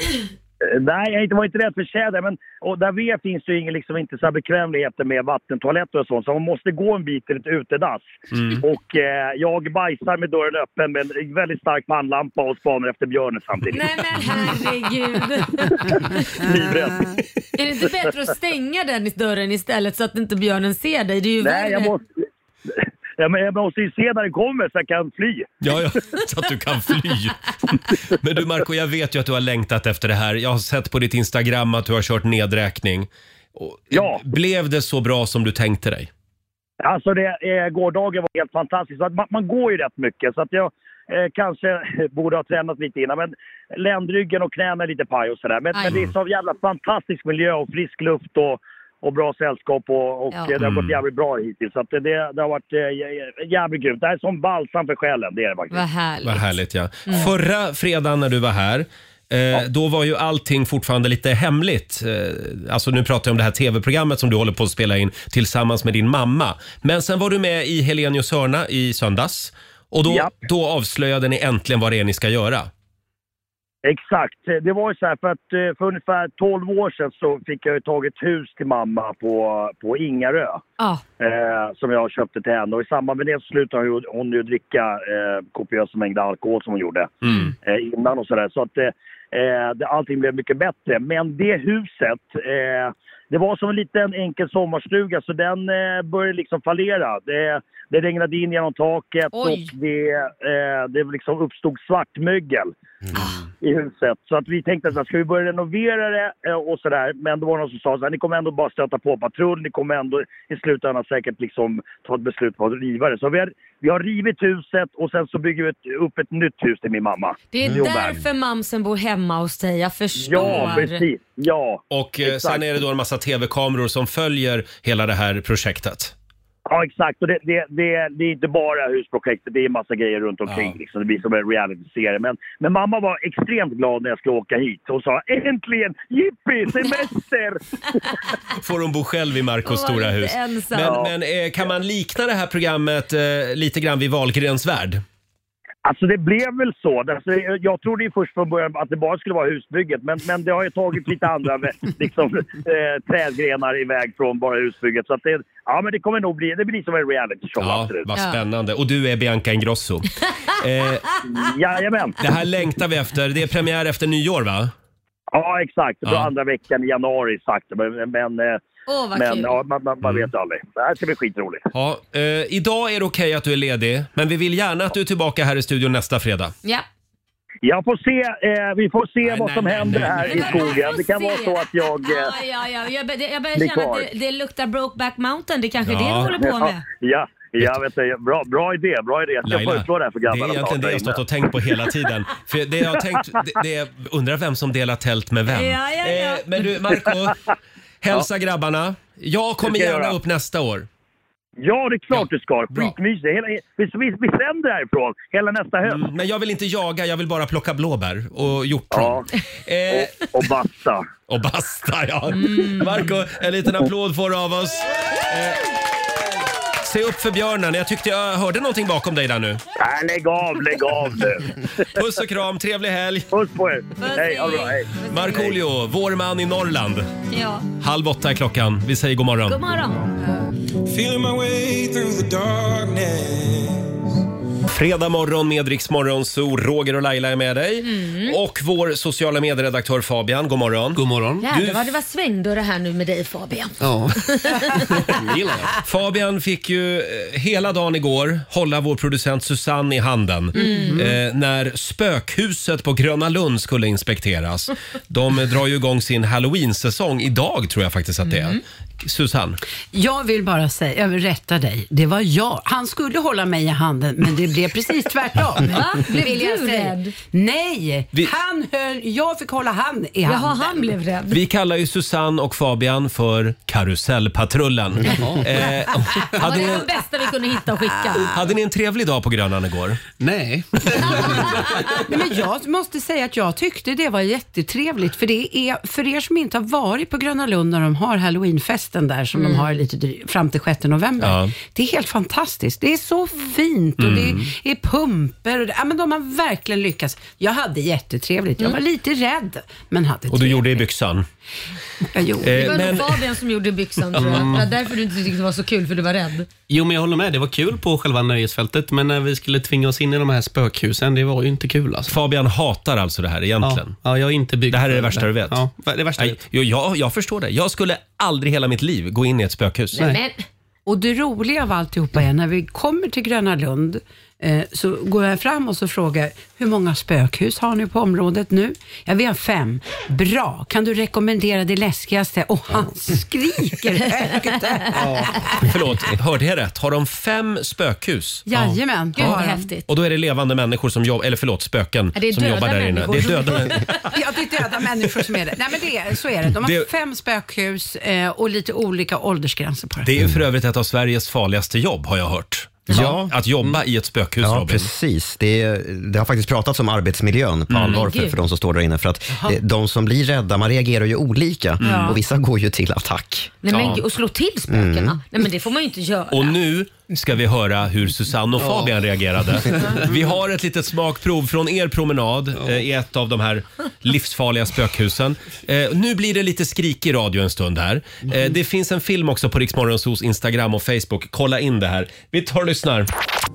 P: Eh, nej, jag har inte varit rädd för tjäder. Men, och där vi är finns det ju ingen, liksom, inte så här bekvämligheter med vattentoaletter och sånt. Så man måste gå en bit till ett utedass.
C: Mm.
P: Och eh, jag bajsar med dörren öppen med en väldigt stark pannlampa och spanar efter björnen samtidigt.
B: Nej men herregud.
P: Livrädd.
B: Är det inte bättre att stänga den i dörren istället så att inte björnen ser dig? Det är ju
P: Nej, jag
B: värre.
P: måste... Ja, men jag måste ju se när den kommer så jag kan fly.
A: Ja, ja, så att du kan fly. Men du Marco, jag vet ju att du har längtat efter det här. Jag har sett på ditt Instagram att du har kört nedräkning. Och
P: ja.
A: Blev det så bra som du tänkte dig?
P: Alltså det, eh, gårdagen var helt fantastisk. Så att man, man går ju rätt mycket. Så att jag eh, kanske borde ha tränat lite innan. Men ländryggen och knäna är lite paj och sådär. Men,
C: Aj.
P: men det är så jävla fantastisk miljö och frisk luft och, och bra sällskap. Och, och
C: Ja.
P: eh, det har
C: Mm.
P: gått jävligt bra hittills. Så att det, det, det har varit eh, jä- jä- jävligt grymt. Det här är som balsam för själen. Det är det faktiskt.
B: Vad härligt.
A: Vad härligt ja. Förra fredagen när du var här, eh, då var ju allting fortfarande lite hemligt. Eh, alltså nu pratar jag om det här tv-programmet som du håller på att spela in tillsammans med din mamma. Men sen var du med i Helenius hörna i söndags och då,
P: Ja.
A: då avslöjade ni äntligen vad det är ni ska göra.
P: Exakt. Det var ju så här för att eh, för ungefär 12 år sedan så fick jag ju tag i ett hus till mamma på, på Ingarö.
B: Ja.
P: Eh, som jag köpte till henne och i samband med det så slutade hon ju, hon ju dricka eh, kopiösa mängder alkohol som hon gjorde
A: Mm.
P: eh, innan och sådär. Så att eh, eh, det, allting blev mycket bättre. Men det huset, eh, det var som en liten enkel sommarstuga så den eh, började liksom fallera. Det, det regnade in genom taket
C: Oj.
P: och det, eh, det liksom uppstod svartmögel
A: Mm.
B: Ah,
P: i huset. Så att vi tänkte att ska vi börja renovera det eh, och sådär. Men då var det någon som sa så här, ni kommer ändå bara stöta på patrull. Ni kommer ändå i slutändan säkert liksom ta ett beslut på att riva det. Så vi har, vi har rivit huset och sen så bygger vi ett, upp ett nytt hus till min mamma. Mm.
B: Det är
P: Jo, men-
B: därför mamsen bor hemma hos dig, jag förstår.
P: Ja, precis. Ja.
A: Och eh, sen är det då en massa tv-kameror som följer hela det här projektet.
P: Ja, exakt. Och det, det, det, det är inte bara husprojektet, det är massa grejer runt omkring. Liksom. Det blir som en realityserie. Men, men mamma var extremt glad när jag skulle åka hit. Hon sa äntligen! Jippi! Semester!
A: Får hon bo själv i
P: Och
A: Marcos
P: var
A: stora
P: lite
A: hus.
P: ensam.
A: Men,
P: Ja.
A: men eh, kan man likna det här programmet eh, lite grann vid Wahlgrens värld?
P: Alltså det blev väl så. Alltså, jag trodde ju först från början att det bara skulle vara husbygget men, men det har ju tagit lite andra liksom, eh, trädgrenar iväg från bara husbygget. Så att det, ja, men det kommer nog bli, det blir som en reality show.
A: Ja,
P: absolut.
A: vad spännande. Och du är Bianca Ingrosso. Eh,
P: Jajamän.
A: Det här längtar vi efter. Det är premiär efter nyår va?
P: Ja, exakt. Det var
A: Ja.
P: andra veckan i januari sagt. Men, men, eh,
B: Åh, vad
P: men
B: kul.
P: ja, man, man, man
A: Mm.
P: vet aldrig. Det här ska bli skitroligt.
A: Ja, eh, idag är det okej att du är ledig, men vi vill gärna att du är tillbaka här i studion nästa fredag.
B: Ja.
P: Jag får se, eh, vi får se vad som
A: nej,
P: händer
A: nej,
P: här
A: nej.
P: i skogen. Det kan
B: se.
P: vara så att jag... eh,
B: Ja, ja, ja. Jag, bör- jag börjar
P: Bli
B: känna att
P: kvar.
B: det, det luktar Brokeback Mountain, det är kanske är det du håller på med.
P: Ja, ja, jag vet det. Bra, bra idé, bra idé. Jag ska
A: Laila,
P: föreslå det här för
A: det är
P: grabbarna.
A: egentligen det jag har stått och tänkt på hela tiden. För det jag har tänkt, det, det är, undrar vem som delar tält med vem.
C: Ja, ja, ja.
A: Eh, men du, Marco, hälsa grabbarna. Jag kommer
P: Det ska jag
A: gärna
P: göra.
A: upp nästa år.
P: Ja, det är klart du ska. Skitmysigt. Hela- Vi, vi, vi sänder härifrån hela nästa höst.
A: Men jag vill inte jaga, jag vill bara plocka blåbär och hjortron. Eh,
P: Och, och basta.
A: Och basta, ja.
C: Mm.
A: Marco, en liten applåd får du av oss. Eh, se upp för björnen. Jag tyckte jag hörde någonting bakom dig där nu.
P: Nej, lägg av, lägg av nu.
A: Puss och kram, trevlig helg.
P: Puss på er.
A: Hej, ha det bra. Hej. Markoolio, vår man i Norrland.
B: Ja.
A: Halv åtta är klockan. Vi säger god morgon.
B: God
A: Mm.
B: morgon.
C: Feeling my way through the darkness.
A: Fredag morgon med Rix Morgon, så Roger och Laila är med dig. Och vår sociala medieredaktör Fabian, god morgon. God morgon.
B: Jävlar vad det var svängdörr här nu med dig Fabian.
A: Ja. Fabian fick ju eh, hela dagen igår hålla vår producent Susanne i handen
C: Mm.
A: eh, när spökhuset på Gröna Lund skulle inspekteras. De drar ju igång sin halloween-säsong idag tror jag faktiskt att det är. Susanne?
E: Jag vill bara säga, jag vill rätta dig. Det var jag. Han skulle hålla mig i handen, men det blev precis tvärtom.
B: Va? Blev
E: Vill jag
B: du
E: säga.
B: rädd?
E: Nej,
A: Vi-
E: han höll, jag fick hålla han i
B: Jaha,
E: handen.
B: han blev rädd.
A: Vi kallar ju Susanne och Fabian för Karusellpatrullen. Eh,
B: Ja,
A: hade,
B: det
A: ni
B: var
A: en,
B: det bästa vi kunde hitta och skicka.
A: hade ni en trevlig dag på Grönan igår? Nej.
E: Nej, men jag måste säga att jag tyckte det var jättetrevligt. För, det är, för er som inte har varit på Gröna Lund när de har halloweenfesten där som
B: Mm.
E: de har lite dry, fram till 6 november.
C: Ja.
E: Det är helt fantastiskt. Det är så fint och
C: Mm.
E: det är pumper och det. Ja, men de har verkligen lyckats. Jag hade jättetrevligt. Jag var lite rädd, men hade
A: Och du gjorde det Eh, i byxan?
E: Jag gjorde
B: Det var nog Fabian som gjorde byxan tror jag.
J: Mm.
B: Det var därför du inte tyckte det var så kul, för du var rädd.
J: Jo, men jag håller med. Det var kul på själva nöjesfältet, men när vi skulle tvinga oss in i de här spökhusen, det var ju inte kul alltså.
A: Fabian hatar alltså det här egentligen?
J: Ja, ja jag är inte byggd
A: Det här är det
J: för
A: värsta du vet?
J: Ja, det värsta jag
A: Nej,
J: vet.
A: jo, jag, jag förstår det. Jag skulle aldrig hela mitt liv gå in i ett spökhus.
E: Och det roliga av alltihopa är när vi kommer till Gröna Lund eh, så går jag fram och så frågar hur många spökhus har ni på området nu? Ja, vi har fem. Bra, kan du rekommendera det läskigaste? Och han skriker högt.
A: Förlåt, hörde jag rätt? Har de fem spökhus?
E: Jajamän.
B: Gud,
E: har
B: vad
E: han.
B: häftigt.
A: Och då är det levande människor som jobbar, eller förlåt, spöken
E: Ja, det är
A: som
E: döda
A: jobbar där inne.
E: människor
A: Det är
E: som-
A: döda människor.
E: Ja, det är döda människor som är det. Nej, men det är, så är det. De har
A: Det-
E: fem spökhus eh, och lite olika åldersgränser på det.
A: Det är ju för övrigt ett av Sveriges farligaste jobb har jag hört.
F: Ja.
A: Att jobba i ett spökhus
F: Ja,
A: Robin.
F: precis. Det, är- det har faktiskt pratats om arbetsmiljön på
A: Mm.
F: allvar
A: Men
F: för,
A: gud.
F: för de som står där inne. För att
B: Jaha.
F: eh, de som blir rädda, man reagerar ju olika
B: Mm.
F: och vissa går ju till attack.
B: Nej, men, gud, Och slå till spökena.
F: Mm.
B: Nej, men det får man ju inte göra.
A: Och nu ska vi höra hur Susanne och
B: Ja.
A: Fabian reagerade. Vi har ett litet smakprov från er promenad eh, i ett av de här livsfarliga spökhusen. Eh, nu blir det lite skrik i radio en stund här. Eh, det finns en film också på Riksmorgonsos Instagram och Facebook. Kolla in det här. Vi tar och lyssnar.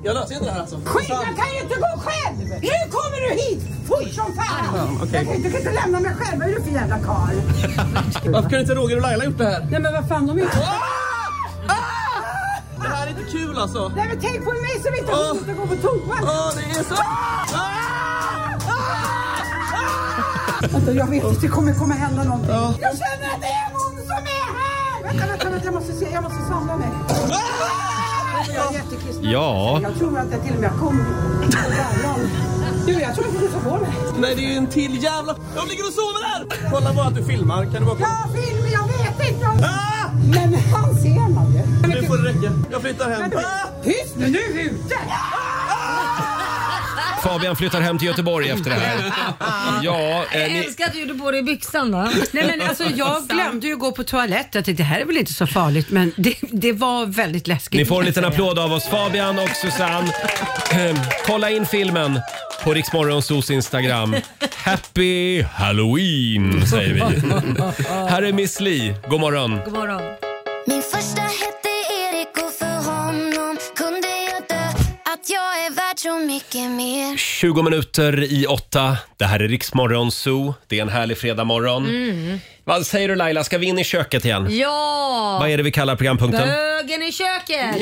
O: Jag löser inte det här alltså. Skit, jag kan ju inte gå själv! Nu kommer du hit fort som fan!
G: okej.
O: Jag kan- Du kan inte lämna mig själv, vad är du för jävla karl?
G: Varför kunde inte Roger och Laila gjort det här?
O: Nej men vad fan, de är ju...
G: Det här är inte kul alltså.
O: Nej men tänk på mig som inte har
G: Åh.
O: hunnit att gå på toa!
G: Åh, det är så-
O: Vänta, jag vet att det kommer komma hända någonting. Jag känner att det är hon som är här! Vänta, vänta, vänta, jag måste se, jag måste samla mig. Jag är jättekissnödig.
A: Ja.
O: Jag tror att jag till och med kommer... Du, jag tror inte du får på mig.
G: Nej, det är ju en till jävla... Jag ligger och sover här! Kolla bara att du filmar. Kan du bara...
O: Jag vill, men jag vet inte om... Men han ser man ju.
G: Nu får det räcka. Jag flyttar hem.
O: Tyst nu, nu är vi ute!
A: Fabian flyttar hem till Göteborg efter det här. Ja, eh,
B: Jag
A: ni,
B: älskar att du gjorde på dig byxan va?
E: Nej, men alltså, jag glömde ju gå på toaletten. Jag tänkte det här är väl inte så farligt, men det, det var väldigt läskigt.
A: ni får en liten
E: kan jag säga.
A: applåd av oss, Fabian och Susanne. Eh, kolla in filmen på Riksmorgonsos Instagram. Happy Halloween säger vi. Här är Miss Li. God morgon.
B: God morgon.
K: Min första hette Erik och för honom kunde jag dö att jag är värd så mycket mer
A: 20 minuter i åtta. Det här är Riksmorgon Zoo. Det är en härlig fredagmorgon.
B: Mm.
A: Vad säger du Laila, ska vi in i köket igen?
B: Ja!
A: Vad är det vi kallar programpunkten?
B: Bögen i köket!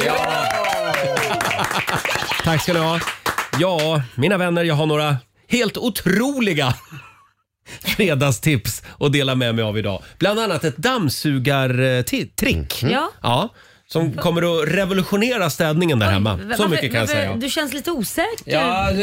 A: Tack ska ni ha. Ja, mina vänner, jag har några helt otroliga fredagstips att dela med mig av idag. Bland annat ett dammsugartrick.
B: Mhm. Ja.
A: ja. Som kommer att revolutionera städningen där hemma.
B: Va-
A: Så
B: varför-
A: mycket kan jag
B: varför-
A: säga.
B: Du känns lite osäker.
A: Ja, eh,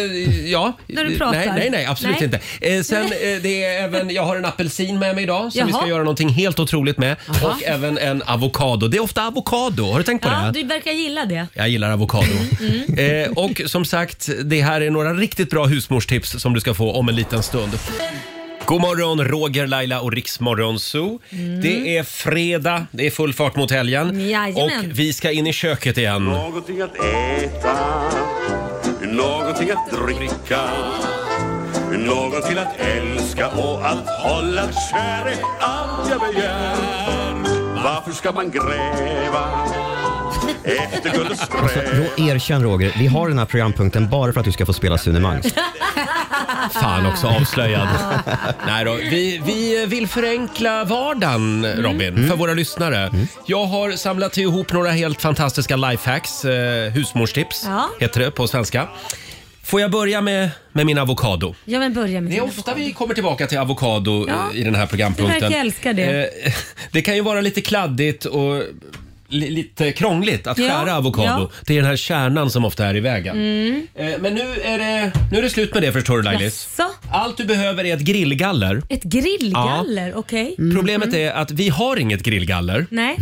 A: ja.
B: När du pratar.
A: Nej, nej, nej absolut
B: Nej.
A: inte. Eh, sen, eh, det är även, jag har en apelsin med mig idag som vi
B: Jaha.
A: ska göra någonting helt otroligt med.
B: Jaha.
A: Och även en avokado. Det är ofta avokado, har du tänkt på
B: Ja,
A: det?
B: du verkar gilla det.
A: Jag gillar avokado.
B: Mm.
A: Eh, och som sagt, det här är några riktigt bra husmorstips som du ska få om en liten stund. God morgon, Roger, Laila och Riksmorgon Zoo. Det är fredag, det är full fart mot helgen.
B: Mm. Jajamän.
A: Och vi ska in i köket igen.
Q: Någonting att äta, någonting att dricka Någon till att älska och att hålla kär är allt jag begär Varför ska man gräva efter guld och
F: Alltså,
Q: skräp?
F: Ro- erkänn Roger, vi har den här programpunkten bara för att du ska få spela Sune Mangs.
A: Fan också, avslöjad. Nej då, vi, vi vill förenkla vardagen,
B: Mm.
A: Robin, för våra lyssnare. Jag har samlat ihop några helt fantastiska lifehacks, eh, husmorstips
B: Ja.
A: heter det på svenska. Får jag börja med, med min avokado?
B: Ja, men börja med
A: Det är ofta vi kommer tillbaka till avokado eh,
B: Ja.
A: i den här programpunkten.
B: Du verkar älska det.
A: Eh, det kan ju vara lite kladdigt och li- lite krångligt att
B: Ja,
A: skära avokado.
B: ja.
A: Det är den här kärnan som ofta är i vägen.
B: Mm.
A: Eh, Men nu är, det, nu är det slut med det förstår du Lailis.
B: Jaså?
A: Allt du behöver är ett grillgaller.
B: Ett grillgaller, okej.
A: Mm. Problemet är att vi har inget grillgaller
B: Mm. Nej.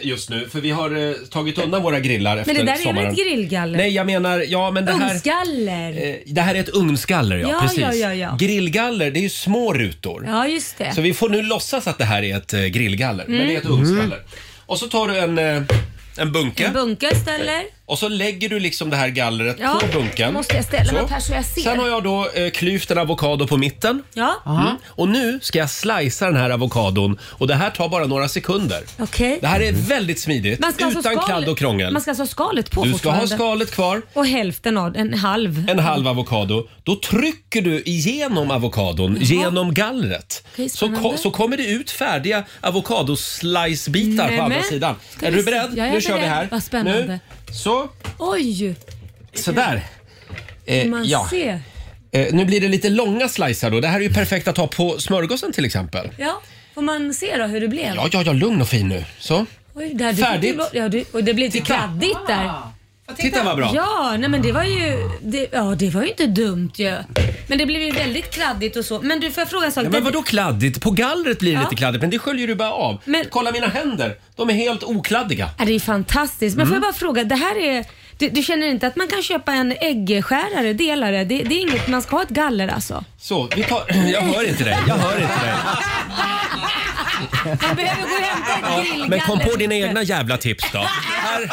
A: eh, just nu för vi har eh, tagit undan våra grillar efter
B: Men det där är
A: sommaren.
B: väl ett grillgaller?
A: Nej, jag menar, ja men det här, Eh,
B: Ugnsgaller.
A: det här är ett ugnsgaller ja,
B: Ja,
A: precis.
B: ja, ja, ja.
A: Grillgaller det är ju små rutor.
B: Ja, just det.
A: Så vi får nu låtsas att det här är ett eh, grillgaller, men
B: Mm.
A: det är ett ugnsgaller. Och så tar du en, eh, en bunke.
B: En bunke istället.
A: Och så lägger du liksom det här gallret
B: Ja,
A: på bunken.
B: måste jag ställa mig
A: Så.
B: upp här så jag ser.
A: Sen har jag då eh, klyvt en avokado på mitten.
B: Ja.
A: Mm. Och nu ska jag slicea den här avokadon och det här tar bara några sekunder.
B: Okej.
A: Det här är väldigt smidigt,
B: Man ska
A: utan
B: alltså skal-
A: kladd och krångel.
B: Man ska alltså ha skalet på
A: du ska
B: fortfarande.
A: ha skalet kvar,
B: Och hälften av, en halv.
A: en halv avokado. Då trycker du igenom avokadon, genom gallret.
B: Okej,
A: så,
B: spännande.
A: ko- så kommer det ut färdiga avokadoslicebitar på
B: Nämen.
A: andra sidan.
B: Ska
A: Är
B: vi
A: du
B: se?
A: beredd?
B: Jag är
A: nu kör vi
B: beredd.
A: här.
B: Vad spännande.
A: Nu. Så,
B: Oj!
A: sådär. Eh,
B: man
A: ja.
B: ser.
A: Eh, nu blir det lite långa slicear då. Det här är ju perfekt att ha på smörgåsen till exempel.
B: Ja, får man se då hur det blev?
A: Ja, ja, ja, lugn och fin nu. Så.
B: Oj, där, du
A: Färdigt.
B: fick ju- Ja, du, och det blev lite kladdigt där.
A: Titta vad bra.
B: Ja, nej men det var ju, det, ja, det var ju inte dumt ju. Men det blev ju väldigt kladdigt och så. Men du, får jag fråga en sak?
A: Ja, men vadå kladdigt? På gallret blir det
B: Ja.
A: lite kladdigt, men det sköljer du bara av. Kolla mina händer, de är helt okladdiga.
B: Ja, det är fantastiskt. Men får
A: Mm.
B: jag bara fråga, det här är... Du, du känner inte att man kan köpa en äggskärare, delare? Det, det är inget, man ska ha ett galler alltså?
A: Så, vi tar... Jag hör inte dig, jag hör inte dig.
B: Man behöver gå och hämta ett
A: Ja,
B: grillgaller.
A: men kom på dina egna jävla tips då. Här.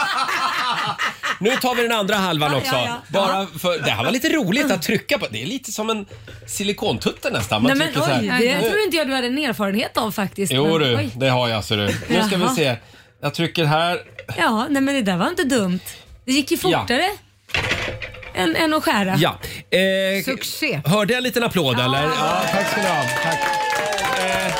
A: Nu tar vi den andra halvan
B: Ja,
A: också.
B: ja, ja.
A: Bara för, det här var lite roligt att trycka på. Det är lite som en silikontutte nästan. Man
B: Nej men
A: trycker så här. Eh,
B: oj, det tror inte jag du hade en erfarenhet av faktiskt.
A: Jo
B: men,
A: du,
B: oj.
A: det har jag ser du. Nu ska vi
B: Jaha.
A: se. Jag trycker här.
B: Ja, nej men det där var inte dumt. Det gick ju
A: Ja.
B: fortare än, än att skära.
A: Ja. Eh,
B: Succé.
A: Hörde jag en liten applåd eller? Ja, tack ska du ha. Tack. Eh,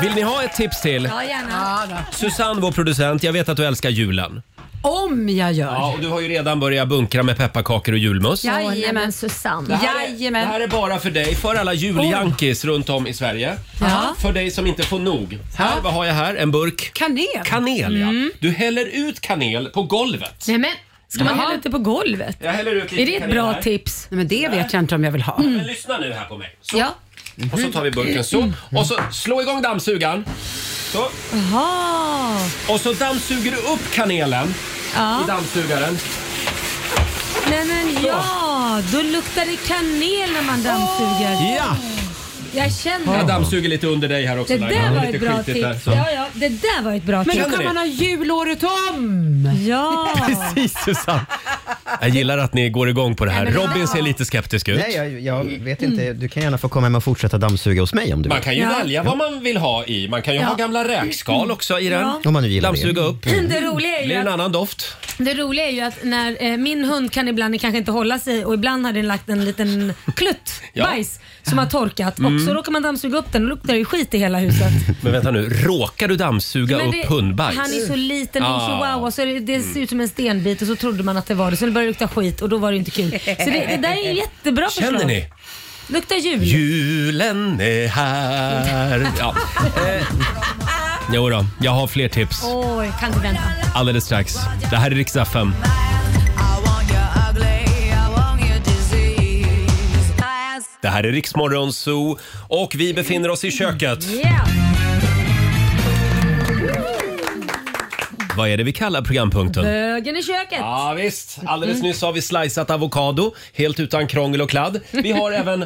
A: vill ni ha ett tips till?
B: Ja, gärna.
A: Susanne, vår producent, jag vet att du älskar julen.
E: Om jag gör.
A: Ja, och du har ju redan börjat bunkra med pepparkakor och julmust.
B: Jajamän Susanne.
A: Det här, är, det
E: Jajamän.
A: här är bara för dig, för alla
B: Oh.
A: juljankis runt om i Sverige.
E: Ja.
A: För dig som inte får nog. Här, vad har jag här? En burk
E: Kanel.
A: kanel.
B: Mm.
A: Ja. Du häller ut kanel på golvet.
B: Nej men, ska man
A: Jaha.
B: hälla ut det på golvet?
A: Jag häller ut lite
B: Är det ett
A: kanel
B: bra
A: här.
B: tips? Mm.
E: Nej, men det vet jag inte om jag vill ha.
A: Men lyssna nu här på mig. Så.
B: Ja.
A: Och
B: Mhm.
A: så tar vi burken
B: Mm.
A: så. Och så slå igång dammsugaren. Så.
B: Jaha.
A: Och så dammsuger du upp kanelen
B: Ja.
A: i dammsugaren.
B: Nej men ja, då luktar det kanel när man dammsuger.
A: Ja!
B: Jag känner.
A: Jag dammsuger lite under dig här också.
B: Det
A: Laila.
B: där var
A: lite
B: ett bra
A: skitigt där,
B: tips.
A: så.
B: Ja, ja, det där var ett bra
E: Men
B: tips.
E: då kan man ha jul året om!
B: Ja!
A: Precis Susanne. Jag gillar att ni går igång på det här.
E: Nej, men-
A: Robin ser lite skeptisk ut.
F: Nej, jag, jag vet inte. Du kan gärna få komma hem och fortsätta dammsuga hos mig om du
A: Man
F: vill.
A: kan ju
B: Ja.
A: välja vad man vill ha i. Man kan ju
B: Ja.
A: ha gamla räkskal också i den.
B: Ja.
F: Om man nu gillar det.
A: Dammsuga upp.
B: Det roliga är ju
A: Blir en
B: att-
A: annan doft.
B: Det roliga är ju att när eh, min hund kan ibland kanske inte hålla sig och ibland har den lagt en liten klutt
A: Ja.
B: bajs som har torkat
A: Mm.
B: och så råkar man dammsuga upp den och luktar ju skit i hela huset.
A: Men vänta nu, råkar du dammsuga
B: Men
A: upp hundbajs?
B: Han är så liten, ah.
A: Ah. Mm.
B: chihuahua, så är det, det ser ut som en stenbit och så trodde man att det var det. Så det började lukta skit och då var det inte kul. Så det, det där är ju jättebra förslag. Mm.
A: Känner ni?
B: Lukta jul.
A: Julen är här. Ja. Eh, jo då, jag har fler tips
B: Oj, kan inte vänta.
A: alldeles strax. Det här är riksdag 5. Det här är Riksmorgon Zoo och vi befinner oss i köket.
B: Yeah.
A: Vad är det vi kallar programpunkten?
B: Bögen i köket.
A: Ja, visst, alldeles
B: Mm.
A: nyss har vi slicat avokado helt utan krångel och kladd. Vi har även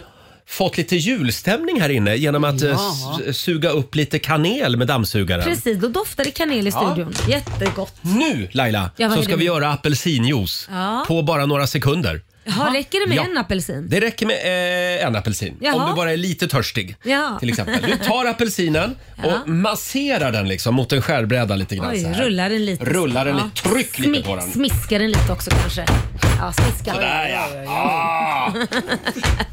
A: fått lite julstämning här inne genom att eh,
B: Ja.
A: s- suga upp lite kanel med dammsugaren.
B: Precis, då doftar det kanel i
A: Ja.
B: studion. Jättegott.
A: Nu Laila,
B: Ja, vad
A: så
B: är
A: ska
B: det
A: vi
B: nu?
A: göra apelsinjuice
B: Ja. Mm.
A: på bara några sekunder.
B: Jaha, räcker det med
A: Ja.
B: en apelsin?
A: Det räcker med eh, en apelsin,
B: Jaha.
A: om du bara är lite törstig.
B: Ja.
A: Till exempel. Du tar apelsinen och masserar den liksom mot en skärbräda lite grann.
B: Oj,
A: så här.
B: rullar den lite.
A: Rullar den
B: Ja.
A: lite, tryck lite på den.
B: Smiskar den lite också kanske. Ja, smiska.
A: Sådär ja. Ah.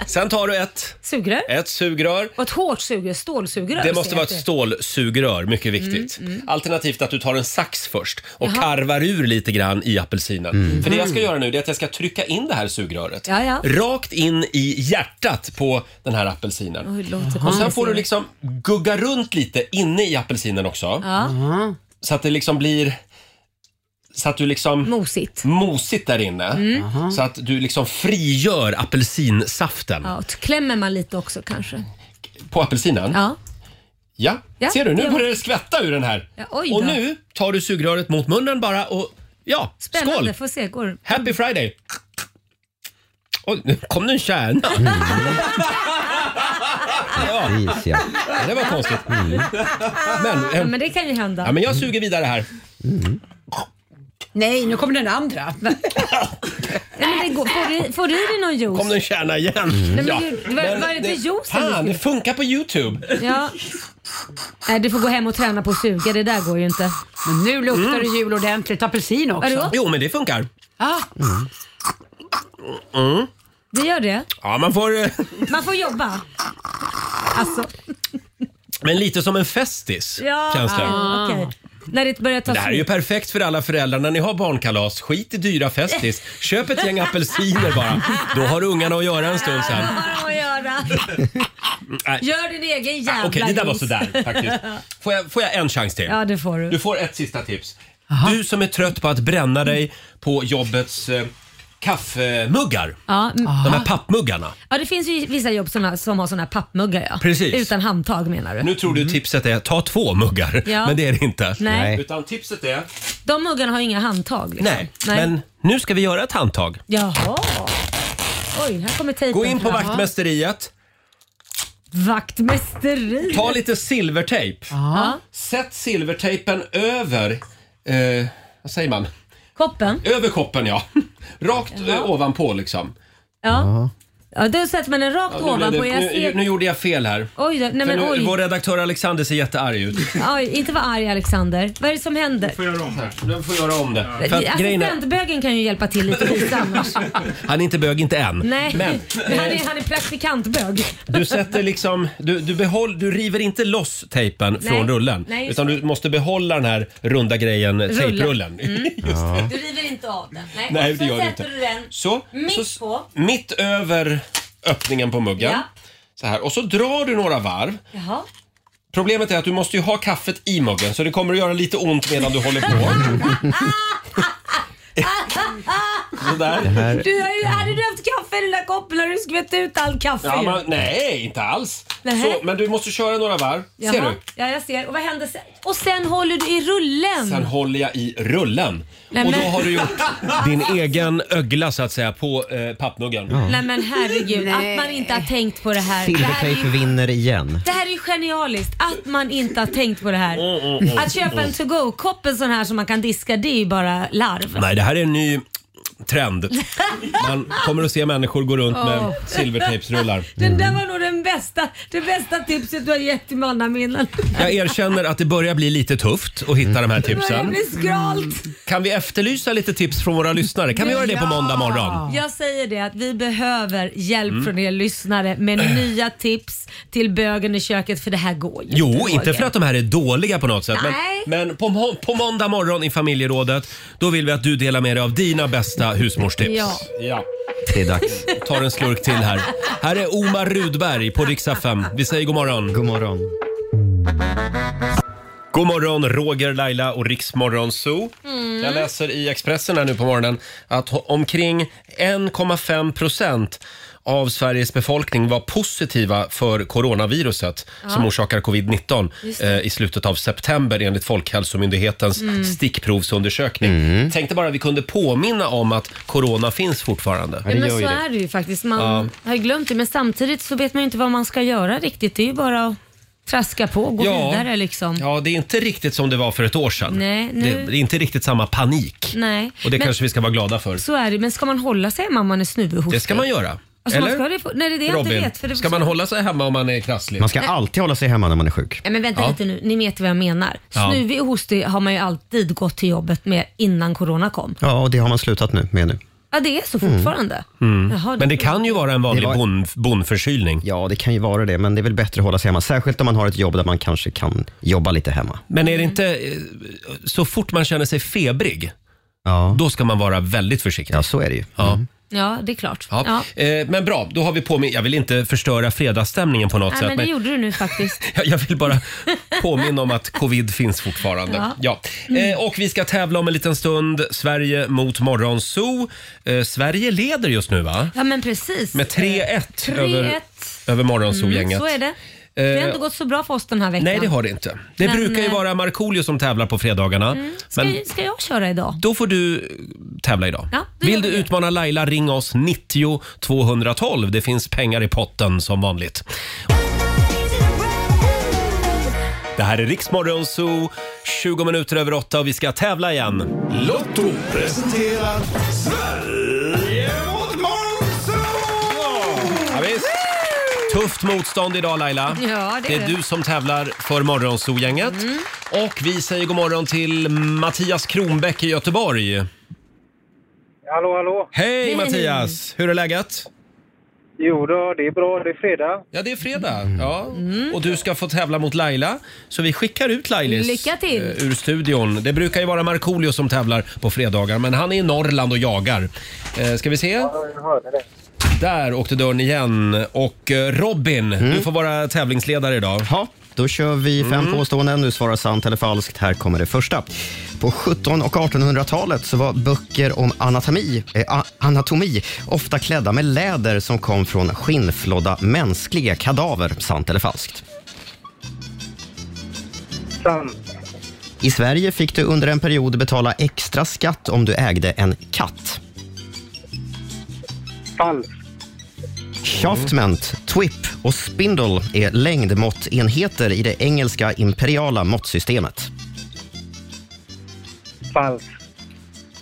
A: Sen tar du ett,
B: Sugrör.
A: ett sugrör.
B: Och ett hårt sugrör, stålsugrör.
A: Det
B: ser
A: måste
B: jag
A: vara
B: att det
A: ett
B: är.
A: stålsugrör, mycket viktigt.
B: Mm, mm.
A: Alternativt att du tar en sax först och
B: Jaha. Mm.
A: karvar ur lite grann i apelsinen. För det jag ska göra nu det är att jag ska trycka in det här sugröret
B: Ja, ja.
A: rakt in i hjärtat på den här apelsinen.
B: Oj, låter
A: Och sen
B: komplicerat.
A: får du liksom gugga runt lite inne i apelsinen också.
B: Ja.
A: Så att det liksom blir... Så att du liksom...
B: Mosigt.
A: Mosigt där inne.
B: Mm.
A: Så att du liksom frigör apelsinsaften
B: Ja, och klämmer man lite också kanske.
A: på apelsinen.
B: Ja.
A: Ja.
B: Ja,
A: ser du? Nu
B: det-
A: börjar det skvätta ur den här.
B: Ja, oj
A: och
B: då.
A: nu tar du sugröret mot munnen bara och ja,
B: Spännande,
A: skål!
B: får se. Går.
A: Happy Friday! Oj, nu kom det en kärna. Ja.
F: Mm. Precis, ja. Mm.
A: Ja, Det var konstigt. Men,
B: Ja,
A: eh,
B: men Ah, det kan ju hända.
F: Mm.
A: ja, men jag suger vidare här.
B: Nej, nu kommer den andra. Nej, men det går. Får, du, får du i dig någon juice?
A: Kom den kärna igen.
F: Mm.
B: men ju- vad- vad är det för juice den
A: Fan,
B: dricker?
A: det funkar på YouTube.
B: Ja. Nej, du får gå hem och träna på att suga. Det där går ju inte. Men nu
E: luktar det jul ordentligt. Apelsin också.
A: Jo, men det funkar.
E: Ah,
A: Mm.
B: Det gör det.
A: Ja, man får... eh,
B: Man får jobba. Alltså,
A: Men lite som en festis,
B: ja.
A: känns det.
B: ja, okej. När det börjar ta
A: Det här är ju
B: slut.
A: perfekt för alla föräldrar när ni har barnkalas. Skit i dyra Festis. Köp ett gäng apelsiner bara. Då har ungarna att göra en stund sen.
B: Vad att göra?
A: Äh,
B: Gör din egen jävla
A: Ah, Okej, det där var
B: juice.
A: sådär faktiskt. Får jag, får jag en chans till?
B: Ja, det får du.
A: Du får ett sista tips. Du som är trött på att bränna dig på jobbets eh, kaffemuggar.
B: Ja, Ah, m-
A: De här pappmuggarna.
B: ja, det finns ju vissa jobb såna, som har såna här pappmuggar. Ja.
A: Precis.
B: Utan handtag menar du?
A: Nu tror du tipset är ta två muggar,
B: Mm. Ja.
A: men det är det inte.
B: Nej.
A: Utan tipset är...
B: De muggarna har ju inga handtag. Liksom.
A: Nej. men nu ska vi göra ett handtag.
B: Jaha. Oj, här kommer tejpen.
A: Gå in på
B: fram.
A: vaktmästeriet,
B: Vaktmästeri.
A: ta lite silvertejp. Sätt silvertejpen över, eh, vad säger man?
B: Koppen?
A: Över koppen ja. Rakt eh, ovanpå liksom.
B: Ja. ja. Då sätter man den rakt
A: nu, blev
B: ovanpå.
A: det,
B: Jag
A: nu,
B: ser...
A: nu gjorde jag fel här.
B: Oj, då, nej
A: För
B: men
A: nu,
B: oj.
A: Vår redaktör Alexander ser jättearg ut.
B: Oj, inte vara arg Alexander. Vad är det som händer?
A: får göra om här. Du får göra om det. För
B: Alltså,
A: att grejen är,
B: Assistentbögen kan ju hjälpa till lite lite annars.
A: han är inte bög, inte än.
B: Nej,
A: Men,
B: han,
A: eh,
B: är, han är praktikantbög.
A: Du sätter liksom, du, du, behåll, du river inte loss tejpen
B: Nej.
A: från rullen.
B: Nej, just
A: utan du måste behålla den här runda grejen,
B: Rullen.
A: tejprullen.
B: Mm.
A: Just det.
B: Du river inte av den. Nej,
A: Nej,
B: Och
A: det gör
B: så
A: du
B: sätter
A: inte.
B: du den
A: Så,
B: mitt på.
A: Mitt över öppningen på muggen.
B: Ja.
A: Så här. Och så drar du några varv.
B: Jaha.
A: Problemet är att du måste ju ha kaffet i muggen så det kommer att göra lite ont medan du håller på.
B: Ah, Du
A: Sådär.
B: har ju, hade du haft kaffe i den där koppen hade du skvätt ut all kaffe.
A: Ja,
B: ju.
A: men, nej, inte alls.
B: Nej.
A: Så, men du måste köra några varv. Ser
B: Jaha.
A: du?
B: Ja, jag ser. Och vad händer sen? Och sen håller du i rullen.
A: Sen håller jag i rullen.
B: Nej,
A: och då
B: men-
A: har du gjort din egen ögla så att säga på eh, pappmuggen.
B: Nej men herregud, att man inte har tänkt på det här. Det här, är
F: Silvertejp
B: ju,
F: vinner igen.
B: det här är ju genialiskt, att man inte har tänkt på det här.
A: mm,
B: Att köpa
A: mm.
B: en to-go-kopp, en sån här som man kan diska, det är ju bara larv.
A: Nej, det här är en ny trend. Man kommer att se människor gå runt med
B: Åh.
A: silvertejpsrullar.
B: Den där var nog den bästa, det bästa tipset du har gett till mannaminnan.
A: Jag erkänner att det börjar bli lite tufft att hitta de här
B: Det
A: tipsen.
B: börjar bli skralt.
A: Kan vi efterlysa lite tips från våra lyssnare? Kan vi göra det på måndag morgon?
B: Jag säger det att vi behöver hjälp
A: Mm.
B: från er lyssnare med nya tips till bögen i köket för det här går ju
A: Jo, inte
B: Roger.
A: för att de här är dåliga på något sätt. Men,
B: Nej.
A: men på, må- på måndag morgon i familjerådet, då vill vi att du delar med dig av dina bästa husmorstips.
B: Ja.
A: ja. Det är dags. Tar en slurk till här. Här är Omar Rudberg på riksdag 5. Vi säger god morgon. God morgon. God morgon, Roger, Laila och Riksmorgon Zoo.
Q: Mm.
A: Jag läser i Expressen här nu på morgonen att ho- omkring 1,5 procent av Sveriges befolkning var positiva för coronaviruset
Q: Ja.
A: som orsakar covid-19
Q: Just det.
A: eh, i slutet av september enligt Folkhälsomyndighetens
Q: Mm.
A: stickprovsundersökning. Tänkte bara vi kunde påminna om att corona finns fortfarande.
B: Ja, men så är det ju faktiskt. Man
A: Ja.
B: har ju glömt det men samtidigt så vet man ju inte vad man ska göra riktigt. Det är ju bara att traska på och gå
A: Ja.
B: vidare liksom.
A: Ja, det är inte riktigt som det var för ett år sedan.
B: Nej, nu-
A: det, det är inte riktigt samma panik.
B: Nej.
A: Och det
B: men,
A: kanske vi ska vara glada för.
B: Så är det Men ska man hålla sig hemma om man är snuvig
A: Det ska man göra.
B: Alltså, man
A: Eller?
B: ska det, få- nej, det är det jag inte
A: Robin,
B: vet. För det
A: ska man hålla sig hemma om man är krasslig?
F: Man ska
B: Nej.
F: alltid hålla sig hemma när man är sjuk.
B: Nej, men vänta
F: Ja.
B: lite nu, ni vet vad jag menar.
F: Ja.
B: Snuvig och hostig har man ju alltid gått till jobbet med innan corona kom.
F: Ja, och det har man slutat nu med nu.
B: Ja, det är så
F: Mm.
B: fortfarande. Jaha,
A: Men det kan ju vara en vanlig
F: Det var-
A: bon, bonförkylning.
F: Ja, det kan ju vara det, men det är väl bättre att hålla sig hemma. Särskilt om man har ett jobb där man kanske kan jobba lite hemma.
A: Men är det inte eh, så fort man känner sig febrig, då ska man vara väldigt försiktig. Ja,
F: så är det ju.
A: Ja.
B: Ja, det är klart.
A: Ja.
B: Ja.
A: Eh, men bra, då har vi påmin- Jag vill inte förstöra fredagsstämningen på något
B: Nej,
A: sätt.
B: men det gjorde du nu faktiskt.
A: Jag- Jag vill bara påminna om att covid finns fortfarande. Ja.
B: Ja. Mm.
A: Eh, och vi ska tävla om en liten stund. Sverige mot Morgonzoo. Eh, Sverige leder just nu va?
B: Ja, men precis.
A: Med 3-1 över,
B: 3-1.
A: över
B: Mm,
A: Morgonzoo-gänget.
B: så är det. Det har
A: Eh,
B: inte gått så bra för oss den här veckan.
A: Nej, det har det inte. Det
B: Men,
A: brukar ju
B: eh, Mm.
A: vara Markoolio som tävlar på fredagarna.
B: Ska,
A: Men
B: ska jag köra idag?
A: då får du eh, tävla idag.
B: Ja, då
A: Vill du utmana Laila, ring oss 90 212. Det finns pengar i potten som vanligt. Det Det här är Riksmorgon Zoo, 20 minuter över 8 och vi ska tävla igen. Lotto
C: Presenterar Sverige mot
A: Ja, visst. Tufft motstånd idag Laila.
B: Ja, det är
A: är
B: det. Mm.
A: du som tävlar för Morgonzoo-gänget. Och vi säger god morgon till Mattias Kronbäck i Göteborg.
R: Hallå, hallå.
A: Hej, Mattias! Hur är läget?
R: Jo då, det är bra. Det är fredag.
A: Ja, det är fredag.
F: Mm.
A: Ja. Och du ska få tävla mot Laila. Så vi skickar ut Lailis
B: Lycka till.
A: eh, ur studion. Det brukar ju vara Markoolio som tävlar på fredagar, men han är i Norrland och jagar. Eh, Ska vi se?
R: Jag hörde det.
A: Där åkte dörren igen. Och eh, Robin, du får vara tävlingsledare idag.
F: Mm. Ja. Då kör vi fem
A: Mm.
F: påståenden. Du svarar sant eller falskt. Här kommer det första. På 1700 och 1800-talet så var böcker om anatomi, eh, a- anatomi ofta klädda med läder som kom från skinnflådda mänskliga kadaver. Sant eller falskt?
R: Sant.
F: I Sverige fick du under en period betala extra skatt om du ägde en katt.
R: Falskt.
F: Shaftment, twip och spindle är längdmåttenheter i det engelska imperiala måttsystemet.
R: Falskt.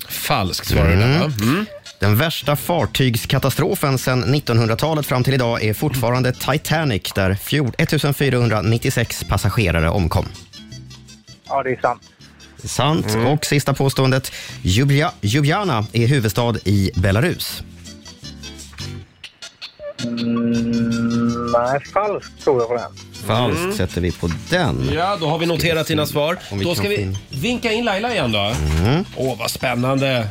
A: Falskt svarar du där, va?
F: Mm.
A: Mm.
F: Den värsta fartygskatastrofen sedan 1900-talet fram till idag är fortfarande Titanic där 14 1496 passagerare omkom.
R: Ja, det är sant.
F: Sant.
A: Mm.
F: Och sista påståendet. Jublia, Ljubljana är huvudstad i Belarus.
R: Mm, nej, falskt tror jag på den.
F: Falskt
A: Mm.
F: sätter vi på den.
A: Ja, då har vi noterat dina svar.
F: om vi
A: Då
F: kan
A: ska
F: få
A: vi
F: in-
A: vinka in Laila igen då.
F: Mm.
A: Åh, vad spännande.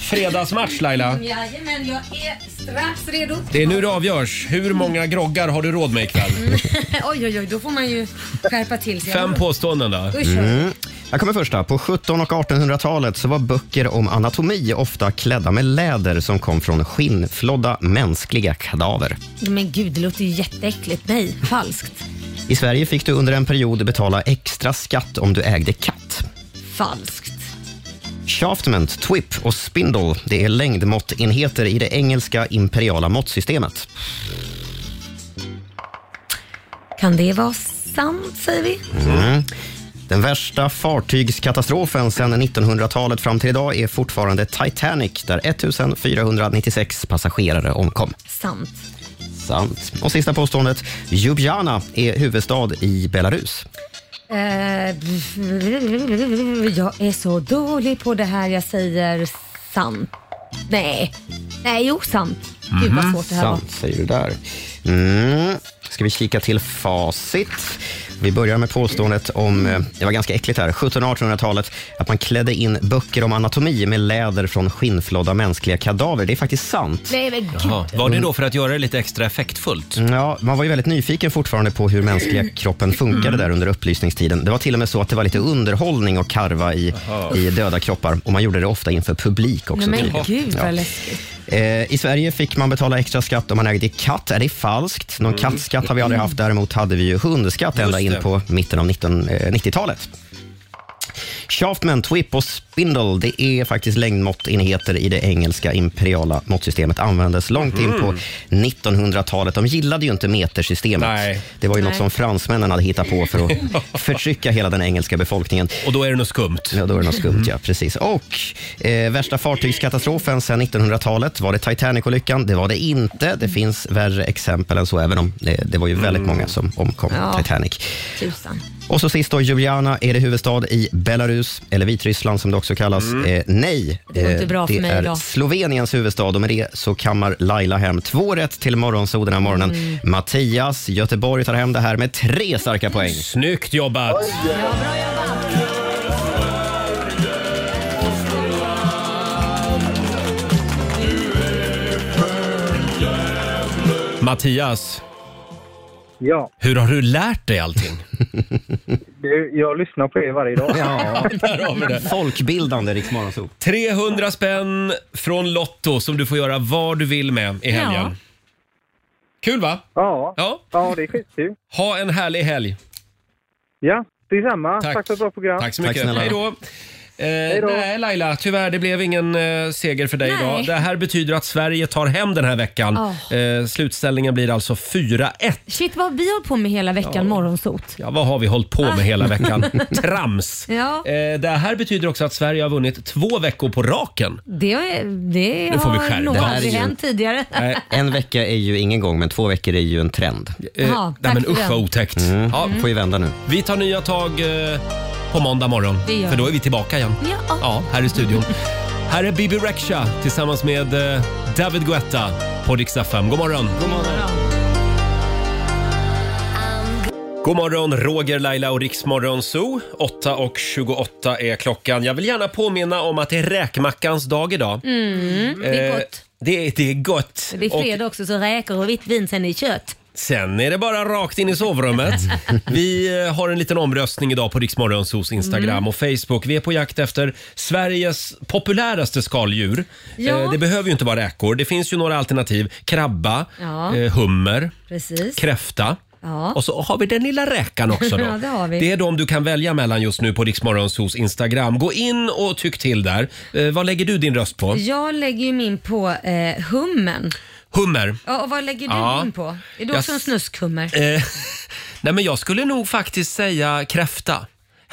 A: Fredagsmatch Laila.
B: Jajamän, jag är strax redo.
A: Det är nu det avgörs. Hur många groggar har du råd med ikväll?
B: Mm. oj, oj, oj, då får man ju skärpa till sig.
A: Fem påståenden då.
B: Usch.
F: Mm. Här kommer första. På 1700 och 1800-talet så var böcker om anatomi ofta klädda med läder som kom från skinnflådda mänskliga kadaver.
B: Men gud, det låter ju jätteäckligt. Nej, falskt.
F: I Sverige fick du under en period betala extra skatt om du ägde katt.
B: Falskt.
F: Shaftment, twip och spindle det är längdmåttenheter i det engelska imperiala måttsystemet.
B: Kan det vara sant, säger vi?
F: Mm. Den värsta fartygskatastrofen sedan 1900-talet fram till idag är fortfarande Titanic där 1496 passagerare omkom.
B: Sant.
F: Sant. Och sista påståendet. Ljubljana är huvudstad i Belarus.
B: Eh, jag är så dålig på det här. Jag säger sant. Nej, nej, jo, sant. Gud
A: Mhm.
B: vad svårt det här var.
F: Mhm. Sant, säger du där. Mm. Ska vi kika till facit? Vi börjar med påståendet om, eh, det var ganska äckligt här, 1700 och 1800-talet, att man klädde in böcker om anatomi med läder från skinnflådda mänskliga kadaver. Det är faktiskt sant.
B: Nej, men gud.
A: Jaha. Var det då för att göra det lite extra effektfullt?
F: Ja, man var ju väldigt nyfiken fortfarande på hur mänskliga
B: Mm.
F: kroppen funkade där under upplysningstiden. Det var till och med så att det var lite underhållning att karva i, i döda kroppar och man gjorde det ofta inför publik också.
B: Nej, men
F: tydligen.
B: gud vad
F: Ja.
B: läskigt.
F: Eh, I Sverige fick man betala extra skatt om man ägde katt. Är det falskt? Någon kattskatt har vi aldrig haft. Däremot hade vi ju hundskatt ända
A: Mm. Just
F: in
A: det.
F: på mitten av 19, eh, 90-talet. Shaftman, Twip och Spindle det är faktiskt längdmåttenheter i det engelska imperiala måttsystemet. Användes långt in på
A: Mhm.
F: 1900-talet. De gillade ju inte metersystemet. Det var ju något
A: Nej.
F: som fransmännen hade hittat på för att förtrycka hela den engelska befolkningen.
A: Och då är det något skumt. Mm.
F: Ja, då är det något skumt, ja. Precis. Och eh, värsta fartygskatastrofen sedan 1900-talet. Var det Titanic-olyckan? Det var det inte. Det finns värre exempel än så, även om eh, det, det var ju
A: Mm.
F: väldigt många som omkom
B: Ja.
F: Titanic.
B: Tusan.
F: Och så sist då, Ljubljana. Är det huvudstad i Belarus, eller Vitryssland som det också kallas? Eh, nej,
B: Mm. Det var inte
F: Eh,
B: bra för
F: det
B: mig
F: är
B: idag.
F: Sloveniens huvudstad och med det så kammar Laila hem två rätt till Morgonzoo den här morgonen.
B: Mm.
F: Mattias, Göteborg tar hem det här med tre starka poäng.
A: Snyggt jobbat! Mattias,
R: Ja,
A: hur har du lärt dig allting?
R: det, jag lyssnar på er varje dag.
F: Ja,
A: där har vi det.
F: Folkbildande Rix Morgonzoo.
A: 300 spänn från Lotto som du får göra vad du vill med i helgen.
R: Ja.
A: Kul va?
R: Ja.
A: ja.
R: Ja, det är skitkul.
A: Ha en härlig helg.
R: Ja, detsamma.
A: Tack.
R: Tack, för ett bra program.
A: Tack så mycket. Hej då. Eh, nej, Laila, tyvärr det blev ingen eh, seger för dig
B: Nej.
A: idag. Det här betyder att Sverige tar hem den här veckan.
B: Ah.
A: Eh, slutställningen blir alltså 4-1.
B: Shit, vad har vi hållit på med hela veckan, morgonsot?
A: Ja, vad har vi hållit på med hela veckan? Trams!
B: Ah. Ja,
A: Eh, det här betyder också att Sverige har vunnit två veckor på raken.
B: det, är- det
A: Nu får vi
B: har
A: skärpa
B: nog
A: oss.
B: aldrig
A: Det här är ju-
B: hänt tidigare.
F: Nej, Eh, en vecka är ju ingen gång, men två veckor är ju en trend.
B: Eh, Jaha, nej, tack men för usch, den. vad
A: otäckt.
F: Mm.
A: Ja.
F: Får ju vända nu.
A: Vi tar nya tag eh, på måndag morgon,
B: Det gör
A: för då
B: vi.
A: är vi tillbaka igen.
B: Ja.
A: här i studion. här är Bibi Rexha tillsammans med eh, David Guetta på Rix FM. God morgon! God morgon! God morgon, Roger, Laila och Riksmorgon Zoo. 8.28 är klockan. Jag vill gärna påminna om att det är räkmackans dag idag.
B: Mm, det är
A: Eh,
B: gott.
A: Det är, det är gott.
B: Det är
A: Och
B: fredag också, så räkor och vitt vin sen är det kött.
A: Sen är det bara rakt in i sovrummet. Vi eh, har en liten omröstning idag på Riksmorgonsos Instagram
B: Mm.
A: och Facebook. Vi är på jakt efter Sveriges populäraste skaldjur.
B: Ja.
A: Eh, Det behöver ju inte vara räkor. Det finns ju några alternativ. Krabba,
B: Ja.
A: eh, hummer,
B: Precis.
A: kräfta.
B: Ja.
A: Och så har vi den lilla räkan också. Då.
B: Ja, det har vi.
A: är de du kan välja mellan just nu på Riksmorgonsos Instagram. Gå in och tyck till där. Eh, vad lägger du din röst på?
B: Jag lägger ju min på eh, hummen.
A: Hummer.
B: Ja, och vad lägger du
A: Ja.
B: din på? Är du
A: Jag
B: också en
A: s-
B: snuskhummer?
A: Eh, nej men jag skulle nog faktiskt säga kräfta.
B: på-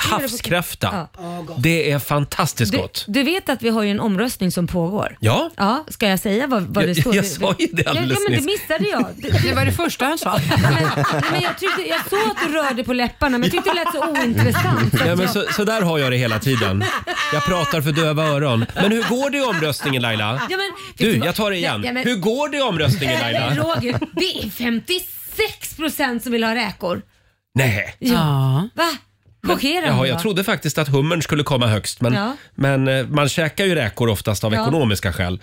A: Havskräfta.
B: Ja.
A: Det är fantastiskt
B: Du,
A: gott.
B: du vet att vi har ju en omröstning som pågår?
A: Ja.
B: Ja, ska jag säga vad, vad
A: Jag-
B: det står?
A: jag
B: Du-
A: sa ju det alldeles
B: ja, ja, men det
A: nyss.
B: missade jag. Det, var det första han sa. men, men jag, tyckte, jag såg att du rörde på läpparna men jag tyckte det lät så ointressant.
A: Ja,
B: att
A: men
B: jag-
A: så, så där har jag det hela tiden. Jag pratar för döva öron. Men hur går det i omröstningen Laila?
B: Ja, men, vet
A: Du,
B: vad?
A: jag tar det igen.
B: Ja, men-
A: Hur går det i omröstningen
B: Nej, men
A: Laila?
B: Roger, det är 56 procent som vill ha räkor.
A: Nej.
B: Ja. Va? Chockerande
A: Jaha,
B: va?
A: jag trodde faktiskt att hummern skulle komma högst men,
B: Ja.
A: men eh, man käkar ju räkor oftast av
B: Ja.
A: ekonomiska skäl.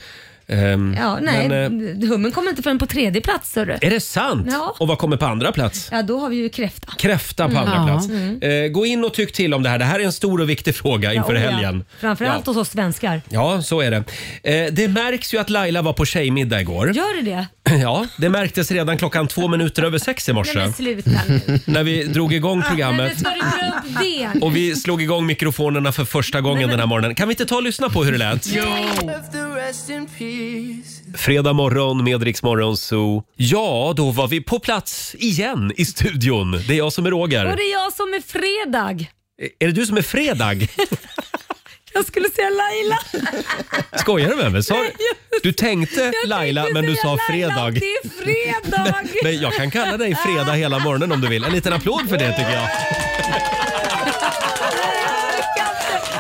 A: Ehm,
B: Ja, nej,
A: men, eh,
B: hummen kommer inte förrän på tredje plats. Hörru.
A: är det sant?
B: Ja.
A: Och vad kommer på andra plats?
B: Ja, då har vi ju kräfta.
A: Kräfta på
B: Mm.
A: andra
B: Ja.
A: plats.
B: Mm.
A: Eh, gå in och tyck till om det här. Det här är en stor och viktig fråga inför
B: Ja, oh ja.
A: helgen.
B: Framförallt
A: ja. Mm.
B: hos oss svenskar.
A: Ja, så är det. Eh, det märks ju att Laila var på tjejmiddag igår.
B: Gör det det?
A: Ja, det märktes redan klockan två minuter över sex i
B: Nej,
A: morse.
B: men sluta nu.
A: När vi drog igång
B: Nej,
A: programmet.
B: men ska du dra upp det?
A: Och vi slog igång mikrofonerna för första gången den här morgonen. Kan vi inte ta och lyssna på hur det lät? Fredag morgon med Rix Morgon Zoo. Ja, då var vi på plats igen i studion. Det är jag som är Roger.
B: Och det är jag som är fredag.
A: Är det du som är Fredag?
B: Jag skulle säga Laila.
A: Skojar du med mig? Sa, du tänkte Laila men du sa fredag.
B: Det är fredag.
A: Nej, nej, jag kan kalla dig fredag hela morgonen om du vill. En liten applåd för det tycker jag.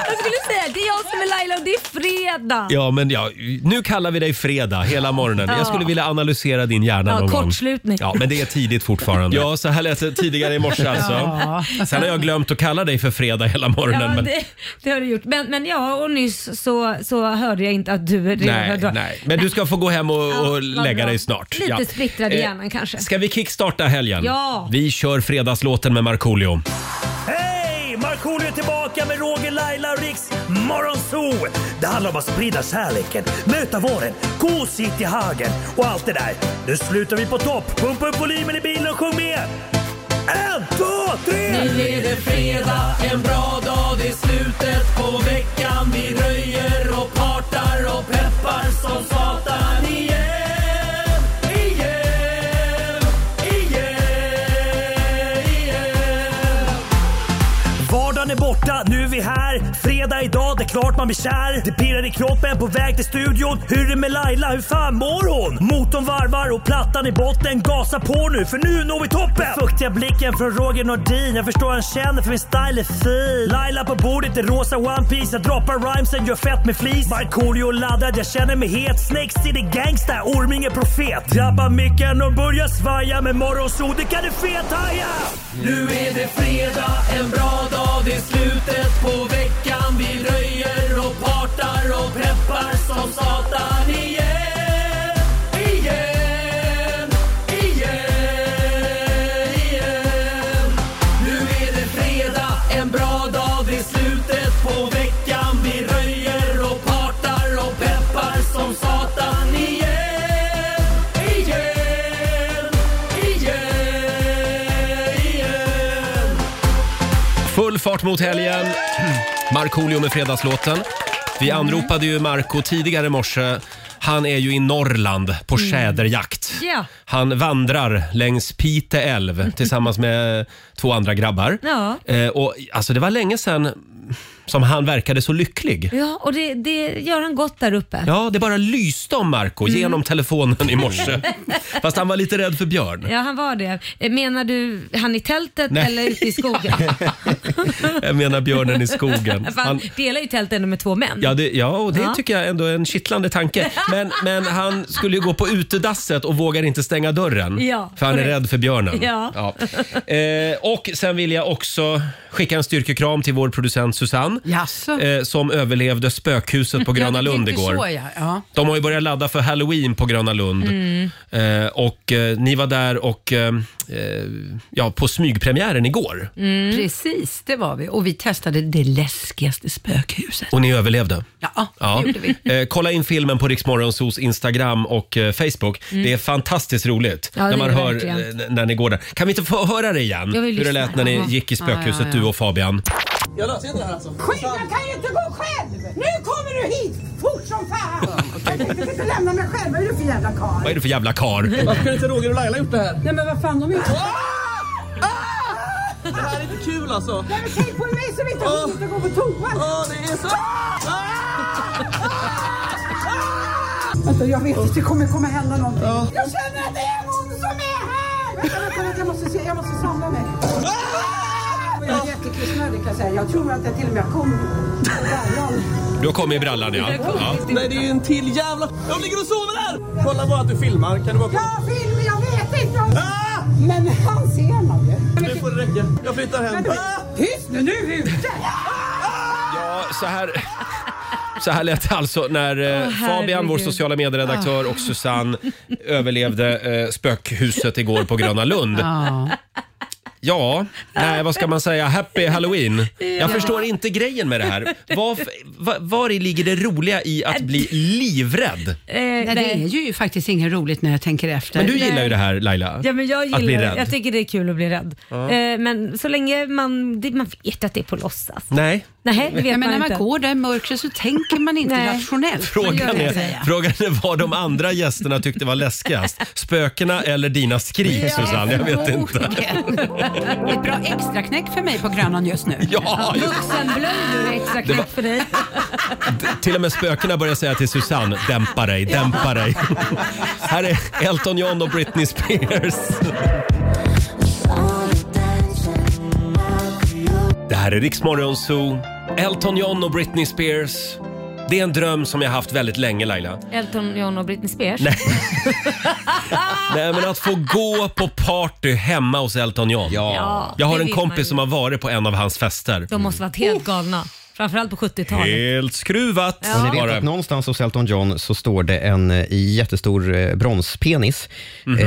B: Jag skulle säga det är jag som är Laila och det är fredag.
A: Ja, men ja, nu kallar vi dig fredag hela morgonen.
B: Ja.
A: Jag skulle vilja analysera din hjärna
B: Ja,
A: någon gång.
B: kortslutning.
A: Ja, men det är tidigt fortfarande. Ja, så här lät det tidigare i morse alltså.
B: Ja.
A: Sen har jag glömt att kalla dig för fredag hela morgonen.
B: Ja,
A: men...
B: det, det har du gjort. Men, men ja, och nyss så, så hörde jag inte att du redan
A: Nej,
B: hade dragit-
A: nej, men du ska få gå hem och, och
B: vad
A: lägga
B: bra.
A: dig snart.
B: Lite splittrad i
A: Eh,
B: hjärnan kanske.
A: Ska vi kickstarta helgen?
I: Ja.
A: Vi kör fredagslåten med Markoolio.
I: Hej! Markoolio är tillbaka med Roger, Laila och Riks Morgonzoo! Det handlar om att sprida kärleken, möta våren, gosigt i hagen och allt det där. Nu slutar vi på topp! Pumpa upp volymen i bilen och sjung med! En, två, tre!
G: Nu är det fredag, en bra dag, det är slutet på veckan. Vi röjer och partar och peppar som satan igen. Igen, igen, igen.
I: Vardagen är borta, nu är vi här. Fredag idag, det är klart man blir kär. Det pirrar i kroppen på väg till studion. Hur är det med Laila, hur fan mår hon? Motorn varvar och plattan i botten. Gasa på nu, för nu når vi toppen! Den fuktiga blicken från Roger Nordin. Jag förstår han känner för min style är fin. Laila på bordet i rosa One Piece Jag droppar rhymesen, gör fett med flis. Markoolio laddad, jag känner mig het. Snake City Gangsta, Orminge Profet. Drabbar micken och börjar svaja. Med morgonsol, det kan du fethaja!
G: Nu är det fredag, en bra dag, det är slutet på veckan. Vi röjer och partar och peppar som satan igen. Igen, igen, igen. Nu är det fredag, en bra dag, det är slutet på veckan. Vi röjer och partar och peppar som satan igen. Igen, igen, igen.
A: Full fart mot helgen. Markoolio med fredagslåten. Vi
B: Mm.
A: anropade ju Marco tidigare i morse. Han är ju i Norrland på
B: Mm.
A: tjäderjakt.
B: Ja.
A: Han vandrar längs Pite älv tillsammans med två andra grabbar.
B: Ja.
A: Eh, och, alltså, det var länge sedan som han verkade så lycklig.
B: Ja, och det, det gör han gott där uppe.
A: Ja, det bara lyste om Marco
B: Mm.
A: genom telefonen i morse. Fast han var lite rädd för björn.
B: Ja, han var det. Eh, Menar du han i tältet
A: Nej.
B: eller ute i skogen?
A: Jag menar björnen i skogen.
B: För han
A: Han,
B: delar ju tält ändå med två män.
A: ja, det, ja, och det
B: Ja.
A: tycker jag ändå är en kittlande tanke. Men, men han skulle ju gå på utedasset och vågar inte stänga dörren.
G: Ja,
A: för han är
G: korrekt.
A: rädd för björnen.
G: Ja.
A: Eh, och sen vill jag också skicka en styrkekram till vår producent Susanne. Eh, som överlevde spökhuset på Gröna Lund igår.
E: Så, ja. Ja.
A: De har ju börjat ladda för Halloween på Gröna Lund.
E: Mm.
A: Eh, och eh, ni var där och eh, eh, ja, på smygpremiären igår.
E: Precis, det var vi. Och vi testade det läskigaste spökhuset.
A: Och ni överlevde. Ja,
E: det gjorde vi.
A: Eh, kolla in filmen på Riksmorgonsos Instagram och eh, Facebook.
B: Mm.
A: Det är fantastiskt roligt
B: Ja, det
A: när man
B: är det
A: hör
B: verkligen.
A: eh, n- när ni går där. Kan vi inte få höra det igen?
B: Jag vill
A: Hur det
B: lyssna.
A: lät när ni
B: Ja.
A: gick i
B: Ja, ja,
A: spökhuset,
B: ja.
A: du och Fabian.
O: Jag löser inte det här alltså. Skit, jag kan ju inte gå själv! Nu kommer du hit fort som fan! Jag tänkte inte lämna mig själv, vad är du för jävla karl?
A: Vad är du för jävla kar?
O: kunde inte Roger och Laila gjort det här? Nej men vad fan, de är ju... Det här är inte kul alltså. Nej men tänk på mig som inte har hunnit att gå på toa. Ja, Ah! det är så... Vänta, jag vet inte, det kommer komma hända någonting. Jag känner att det är någon som är här! Vänta, vänta, vänta, jag måste se, jag måste samla mig. Jag är jättekissnödig kan jag säga. Jag tror att jag till och med kom
A: Du har kommit i brallan ja. ja.
O: Nej, det är ju en till jävla... Jag ligger och sover här! Kolla bara att du filmar. Kan du vara Jag filmar, jag vet inte om... Men han ser man ju. Nu får det räcka. Jag flyttar hem. Ah! Tyst nu, nu är vi ute!
A: Ja, så här... Så här lät det alltså när eh,
G: Åh,
A: Fabian, vår
G: herregud.
A: sociala medieredaktör
B: Ah.
A: och Susanne överlevde eh, spökhuset igår på Gröna Lund.
E: Ja.
A: Ja, nej vad ska man säga? Happy Halloween.
E: Ja.
A: Jag förstår inte grejen med det här. Varf, va, var i ligger det roliga i att bli livrädd?
E: nej, Eh, det är ju faktiskt inget roligt när jag tänker efter.
A: Men du gillar ju det här Laila.
B: Ja, men jag
A: att bli
B: gillar det.
A: rädd.
B: Jag tycker det är kul att bli rädd.
A: Ja.
B: Eh, Men så länge man, det, man vet att det är på låtsas.
A: Nej.
B: Nej, det vet
E: men
B: man
E: när man
B: inte.
E: går där i mörkret så tänker man inte
B: Nej.
E: rationellt.
A: Frågan är, frågan är vad de andra gästerna tyckte var läskigast. Spökena eller dina skrik
E: Ja,
A: Susanne? Jag vet inte.
E: Ett bra extra knäck för mig på Grönan just nu.
A: Ja, just-
B: Vuxenblöjor är extra
A: Det var-
B: knäck för dig.
A: Till och med spökena börjar säga till Susanne, dämpa dig, dämpa dig. Här är Elton John och Britney Spears. Det här är Riksmorgon Zoo. Elton John och Britney Spears. Det är en dröm som jag haft väldigt länge Laila.
B: Elton John och Britney Spears.
A: Nej. Nej men att få gå på party hemma hos Elton John.
B: Ja,
A: jag har
B: det
A: en
B: vill man ju.
A: kompis som har varit på en av hans fester.
B: De måste varit helt galna. Framförallt på 70-talet.
A: Helt skruvat.
B: Ja.
F: Och ni
A: var
F: vet
A: det.
F: att någonstans hos Elton John så står det en eh, jättestor eh, bronspenis. eh,
A: Mhm.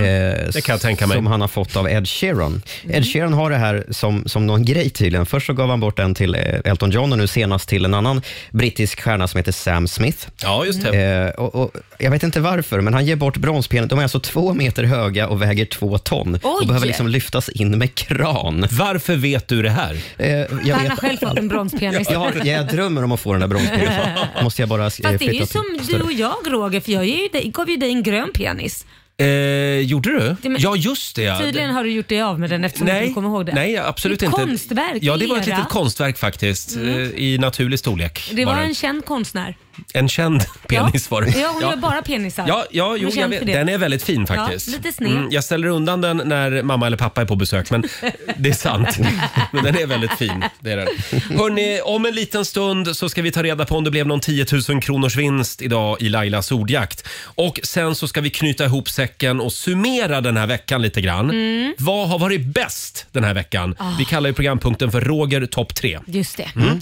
A: Det kan jag tänka mig.
F: Som han har fått av Ed Sheeran.
B: Mm.
F: Ed Sheeran har det här som, som någon grej tydligen. Först så gav han bort den till eh, Elton John och nu senast till en annan brittisk stjärna som heter Sam Smith.
A: Ja, just
F: det. Eh, och, och, jag vet inte varför, men han ger bort bronspenis. De är alltså två meter höga och väger två ton.
B: Oj!
F: Och behöver liksom lyftas in med kran.
A: Varför vet du det här?
F: Eh, jag
B: För Han har
F: vet-
B: själv fått en bronspenis.
F: Ja, jag, jag drömmer om att få den där bronspenisen. Måste jag bara eh,
B: Fast det är ju
F: flytta
B: som
F: till-
B: du
F: större.
B: och jag Roger, för jag ger ju dig, gav ju dig en grön penis.
A: Eh, gjorde du?
B: Det- men-
A: ja, just det. ja.
B: Tydligen har du gjort dig av med den eftersom du
A: Nej,
B: inte kommer ihåg det.
A: nej absolut
B: det är
A: inte.
B: konstverk,
A: Ja, det var ett
B: lera.
A: litet konstverk faktiskt. eh, I naturlig storlek.
B: Det var en känd konstnär.
A: en känd penis var det.
B: Ja, hon gör bara penisar.
A: Ja, ja
B: Hon
A: jo, jag
B: känd för
A: vet,
B: det.
A: den är väldigt fin
B: Ja,
A: faktiskt. Mm,
B: lite sned.
A: jag ställer undan den när mamma eller pappa är på besök, men det är sant. Men den är väldigt fin. Det är den. Hörrni, om en liten stund så ska vi ta reda på om det blev någon 10 000 kronors vinst idag i Lailas ordjakt. Och sen så ska vi knyta ihop säcken och summera den här veckan lite grann.
B: Mm.
A: Vad har varit bäst den här veckan?
B: Ah.
A: Vi kallar ju programpunkten för Roger topp 3.
B: Just det.
A: Mm.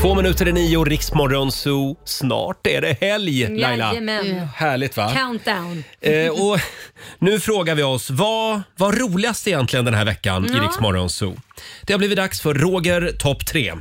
A: Två minuter i nio, Riksmorgon Zoo. Snart är det helg, Laila.
B: Jajamän.
A: Härligt va?
B: Countdown.
A: Eh, och nu frågar vi oss, vad var roligast egentligen den här veckan i
B: Ja.
A: Riksmorgon Zoo? Det har blivit dags för Roger topp 3.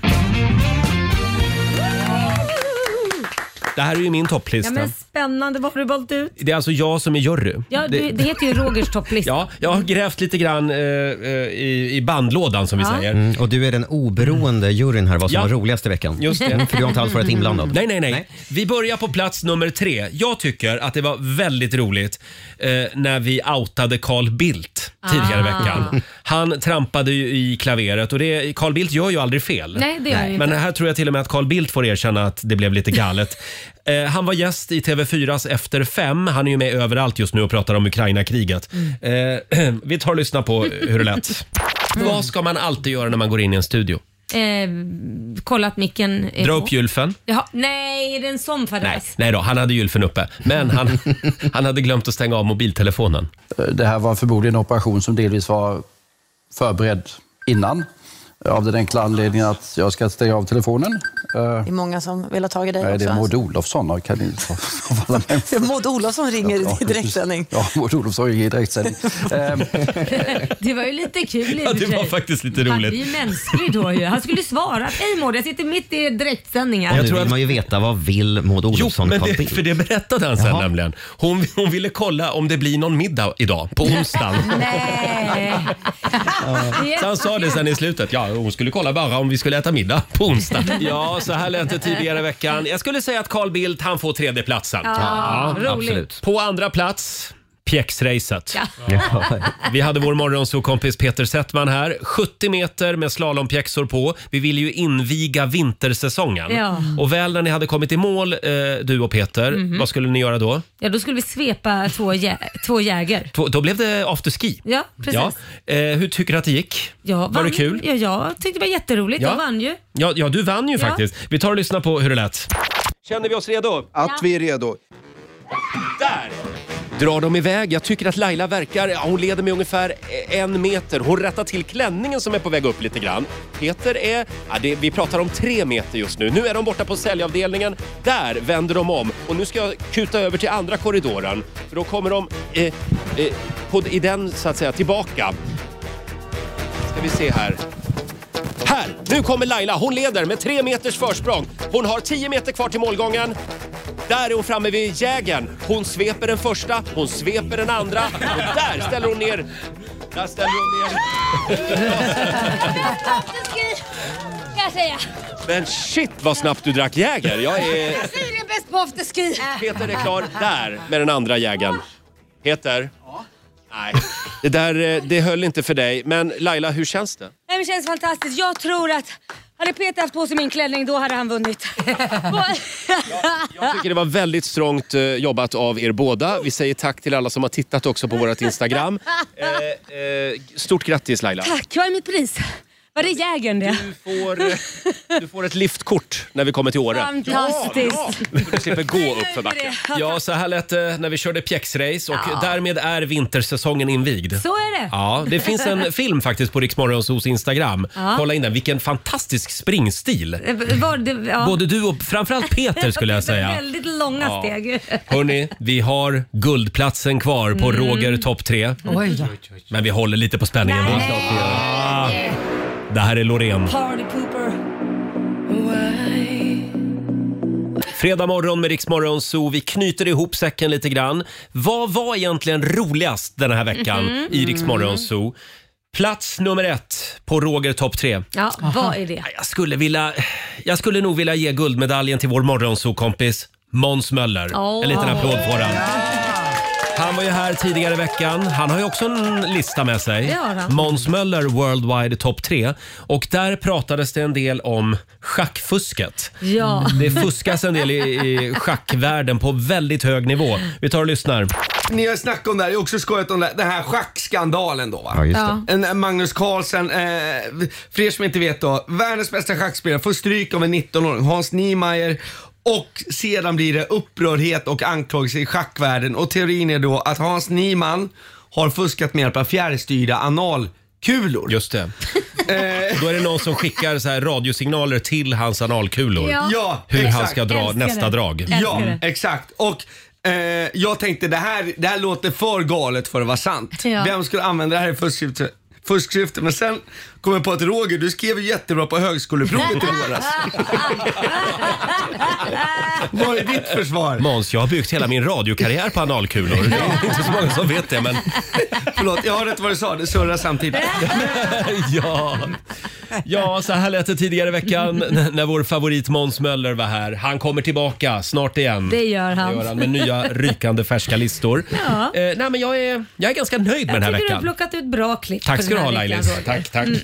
A: Det här är ju min
B: Ja,
A: topplista.
B: men spännande. Vad har du valt ut?
A: Det är alltså jag som är jury.
B: Ja, det, det heter ju Rogers topplista.
A: Ja, jag har grävt lite grann eh, eh, i, i bandlådan som vi
B: Ja.
A: säger.
F: Mm, och du är den oberoende juryn här, vad som
A: Ja.
F: var roligast i veckan.
A: Just det.
F: Mm, För du har inte alls varit inblandad.
A: Nej, nej, nej, Vi börjar på plats nummer tre. Jag tycker att det var väldigt roligt eh, när vi outade Carl Bildt tidigare i
B: Ah.
A: veckan. Han trampade ju i klaveret och det, Carl Bildt gör ju aldrig fel.
B: Nej, det gör han ju
A: Men
B: inte.
A: här tror jag till och med att Carl Bildt får erkänna att det blev lite galet. Eh, han var gäst i TV4s Efter fem. Han är ju med överallt just nu och pratar om Ukraina-kriget. Eh, vi tar och lyssnar på hur det lät. Vad ska man alltid göra när man går in i en studio?
B: Eh, kolla att micken är
A: Dra
B: på.
A: upp gylfen.
B: Jaha, nej, är det en sån fadäs?
A: Nej då, han hade gylfen uppe. Men han, han hade glömt att stänga av mobiltelefonen.
S: Eh, Det här var förmodligen en operation som delvis var förberedd innan. eh, Av den enkla anledningen att jag ska stänga av telefonen. Eh,
T: Det är många som vill ha tag i dig
S: Nej, det
T: också.
S: är Maud Olofsson av kan inte av alla människor.
T: Maud Olofsson ringer i direktsändning.
S: Ja, Maud Olofsson ringer i direktsändning. Eh,
B: Det var ju lite kul i
S: Ja,
B: och för
S: det var
B: sig.
A: Faktiskt lite
B: Han är
A: roligt.
B: ju mänsklig då ju. Han skulle svara att hej Maud, jag sitter mitt i direktsändningar.
F: Och nu vill man ju veta, vad vill Maud Olofsson
A: men
F: Carl
A: det,
F: Bildt?
A: för det berättade han sen nämligen. Hon, hon ville kolla om det blir någon middag idag, på onsdagen.
B: Nej.
A: Så han sa det sen i slutet. Ja, hon skulle kolla bara om vi skulle äta middag på onsdag. Ja, så här lät det tidigare i veckan. Jag skulle säga att Carl Bildt, han får tredjeplatsen.
G: Ja, roligt. absolut.
A: På andra plats, pjäxracet.
G: Ja.
A: Vi hade vår morgonsåkompis Peter Settman här. 70 meter med slalompjäxor på. Vi ville ju inviga vintersäsongen.
B: Ja.
A: Och väl när ni hade kommit i mål, eh, du och Peter,
B: Mhm.
A: vad skulle ni göra då?
B: Ja, då skulle vi svepa två, jä- två jäger.
A: Två- Då blev det afterski.
B: Ja, precis.
A: Ja. Eh, hur tycker du att det gick?
B: Jag
A: Var det
B: vann.
A: kul?
B: Ja, jag tyckte det var jätteroligt.
A: Ja.
B: Jag vann ju.
A: Ja, ja, du vann ju
B: Ja.
A: faktiskt. Vi tar och lyssnar på hur det lät. Känner vi oss redo?
B: Att vi
A: är redo. Där! Drar de iväg? Jag tycker att Laila verkar... Ja, hon leder med ungefär en meter. Hon rättar till klänningen som är på väg upp lite grann. Peter är... Ja, det, vi pratar om tre meter just nu. Nu är de borta på säljavdelningen. Där vänder de om. Och nu ska jag kuta över till andra korridoren. För då kommer de eh, eh, på, i den, så att säga, tillbaka. Ska vi se här. Här! Nu kommer Laila. Hon leder med tre meters försprång. Hon har 10 meter kvar till målgången. Där är hon framme vid jägen. Hon sveper den första, hon sveper den andra och där ställer hon ner... Där ställer hon ner...
U: Kan jag säga.
A: Men shit vad snabbt du drack Jäger! Jag är...
U: Siri är bäst på afterski.
A: Peter är klar där med den andra jägen. Peter? Nej. Det där eh, det höll inte för dig. Men Laila, hur känns det?
U: Nej, men Det känns fantastiskt. Jag tror att hade Peter haft på sig min klänning då hade han vunnit.
A: Jag tycker det var väldigt strångt eh, jobbat av er båda. Vi säger tack till alla som har tittat också på vårt Instagram. Eh, eh, stort grattis Laila!
U: Tack, vad är mitt pris? Var det jägern det? Du
A: får... eh, Du får ett liftkort när vi kommer till Åre.
U: Fantastiskt.
A: Så du slipper gå upp för backen.
U: det.
A: Ja, så här lät det när vi körde pjäxrace och
B: Ja.
A: därmed är vintersäsongen invigd.
B: Så är det.
A: Ja, det finns en film faktiskt på Riksmorgonsos Instagram.
B: Ja.
A: Kolla in den. Vilken fantastisk springstil.
B: Var det, ja.
A: Både du och framförallt Peter skulle jag säga.
B: Väldigt långa
A: Ja.
B: steg.
A: Hörni, vi har guldplatsen kvar på
B: Mm.
A: Roger topp 3.
B: Oj då.
A: Men vi håller lite på spänningen. va? Ah, Det här är Loreen.
U: Party pooper.
A: Fredag morgon med Riksmorgon så vi knyter ihop säcken lite grann. Vad var egentligen roligast den här veckan
B: Mhm.
A: i Riksmorgon så? Plats nummer ett på Roger topp 3.
B: Ja, vad är det?
A: Jag skulle, vilja, jag skulle nog vilja ge guldmedaljen till vår morgonsokompis Måns Möller.
B: Åh.
A: En liten applåd får han. Han var ju här tidigare i veckan. Han har ju också en lista med sig.
G: Det har han.
A: Måns Möller Worldwide Top 3. Och där pratades det en del om schackfusket.
B: Ja.
A: Mm, Det fuskas en del i, i schackvärlden på väldigt hög nivå. Vi tar och lyssnar.
L: Ni har snackat om det här, jag har också skojat om det här, den här schackskandalen då va?
A: Ja, just det.
L: En, en Magnus Carlsen, eh, för er som inte vet då, världens bästa schackspelare får stryk av en 19-åring, Hans Niemeyer. Och sedan blir det upprördhet och anklagelser i schackvärlden och teorin är då att Hans Niemann har fuskat med hjälp av fjärrstyrda analkulor.
A: Just det.
L: Eh.
A: Då är det någon som skickar så här radiosignaler till hans analkulor.
L: Ja,
A: hur han
L: exakt.
A: ska dra nästa drag.
L: Ja, exakt. Och eh, jag tänkte det här, det här låter för galet för att vara sant.
B: Ja.
L: Vem skulle använda det här i fusksyfte? fusksyfte? Men sen kom jag på att Roger, du skrev ju jättebra på högskoleprovet i våras. Vad är ditt försvar?
A: Måns, jag har byggt hela min radiokarriär på analkulor. Det är inte så många som vet det, men...
L: Förlåt, jag hörde inte vad du sa. Det surrar samtidigt.
A: ja. ja, så här lät det tidigare i veckan n- när vår favorit Måns Möller var här. Han kommer tillbaka snart igen.
B: Det gör han.
A: med nya rykande färska listor.
B: Ja.
A: Eh, nej, men jag är, jag är ganska nöjd med den här
B: Jag tycker du har
A: veckan.
B: plockat ut bra klipp
A: Tack
B: för
A: ska du
B: den
A: ha
B: här veckan,
A: Lailis.
B: Roger. Mm.
A: Tack, tack.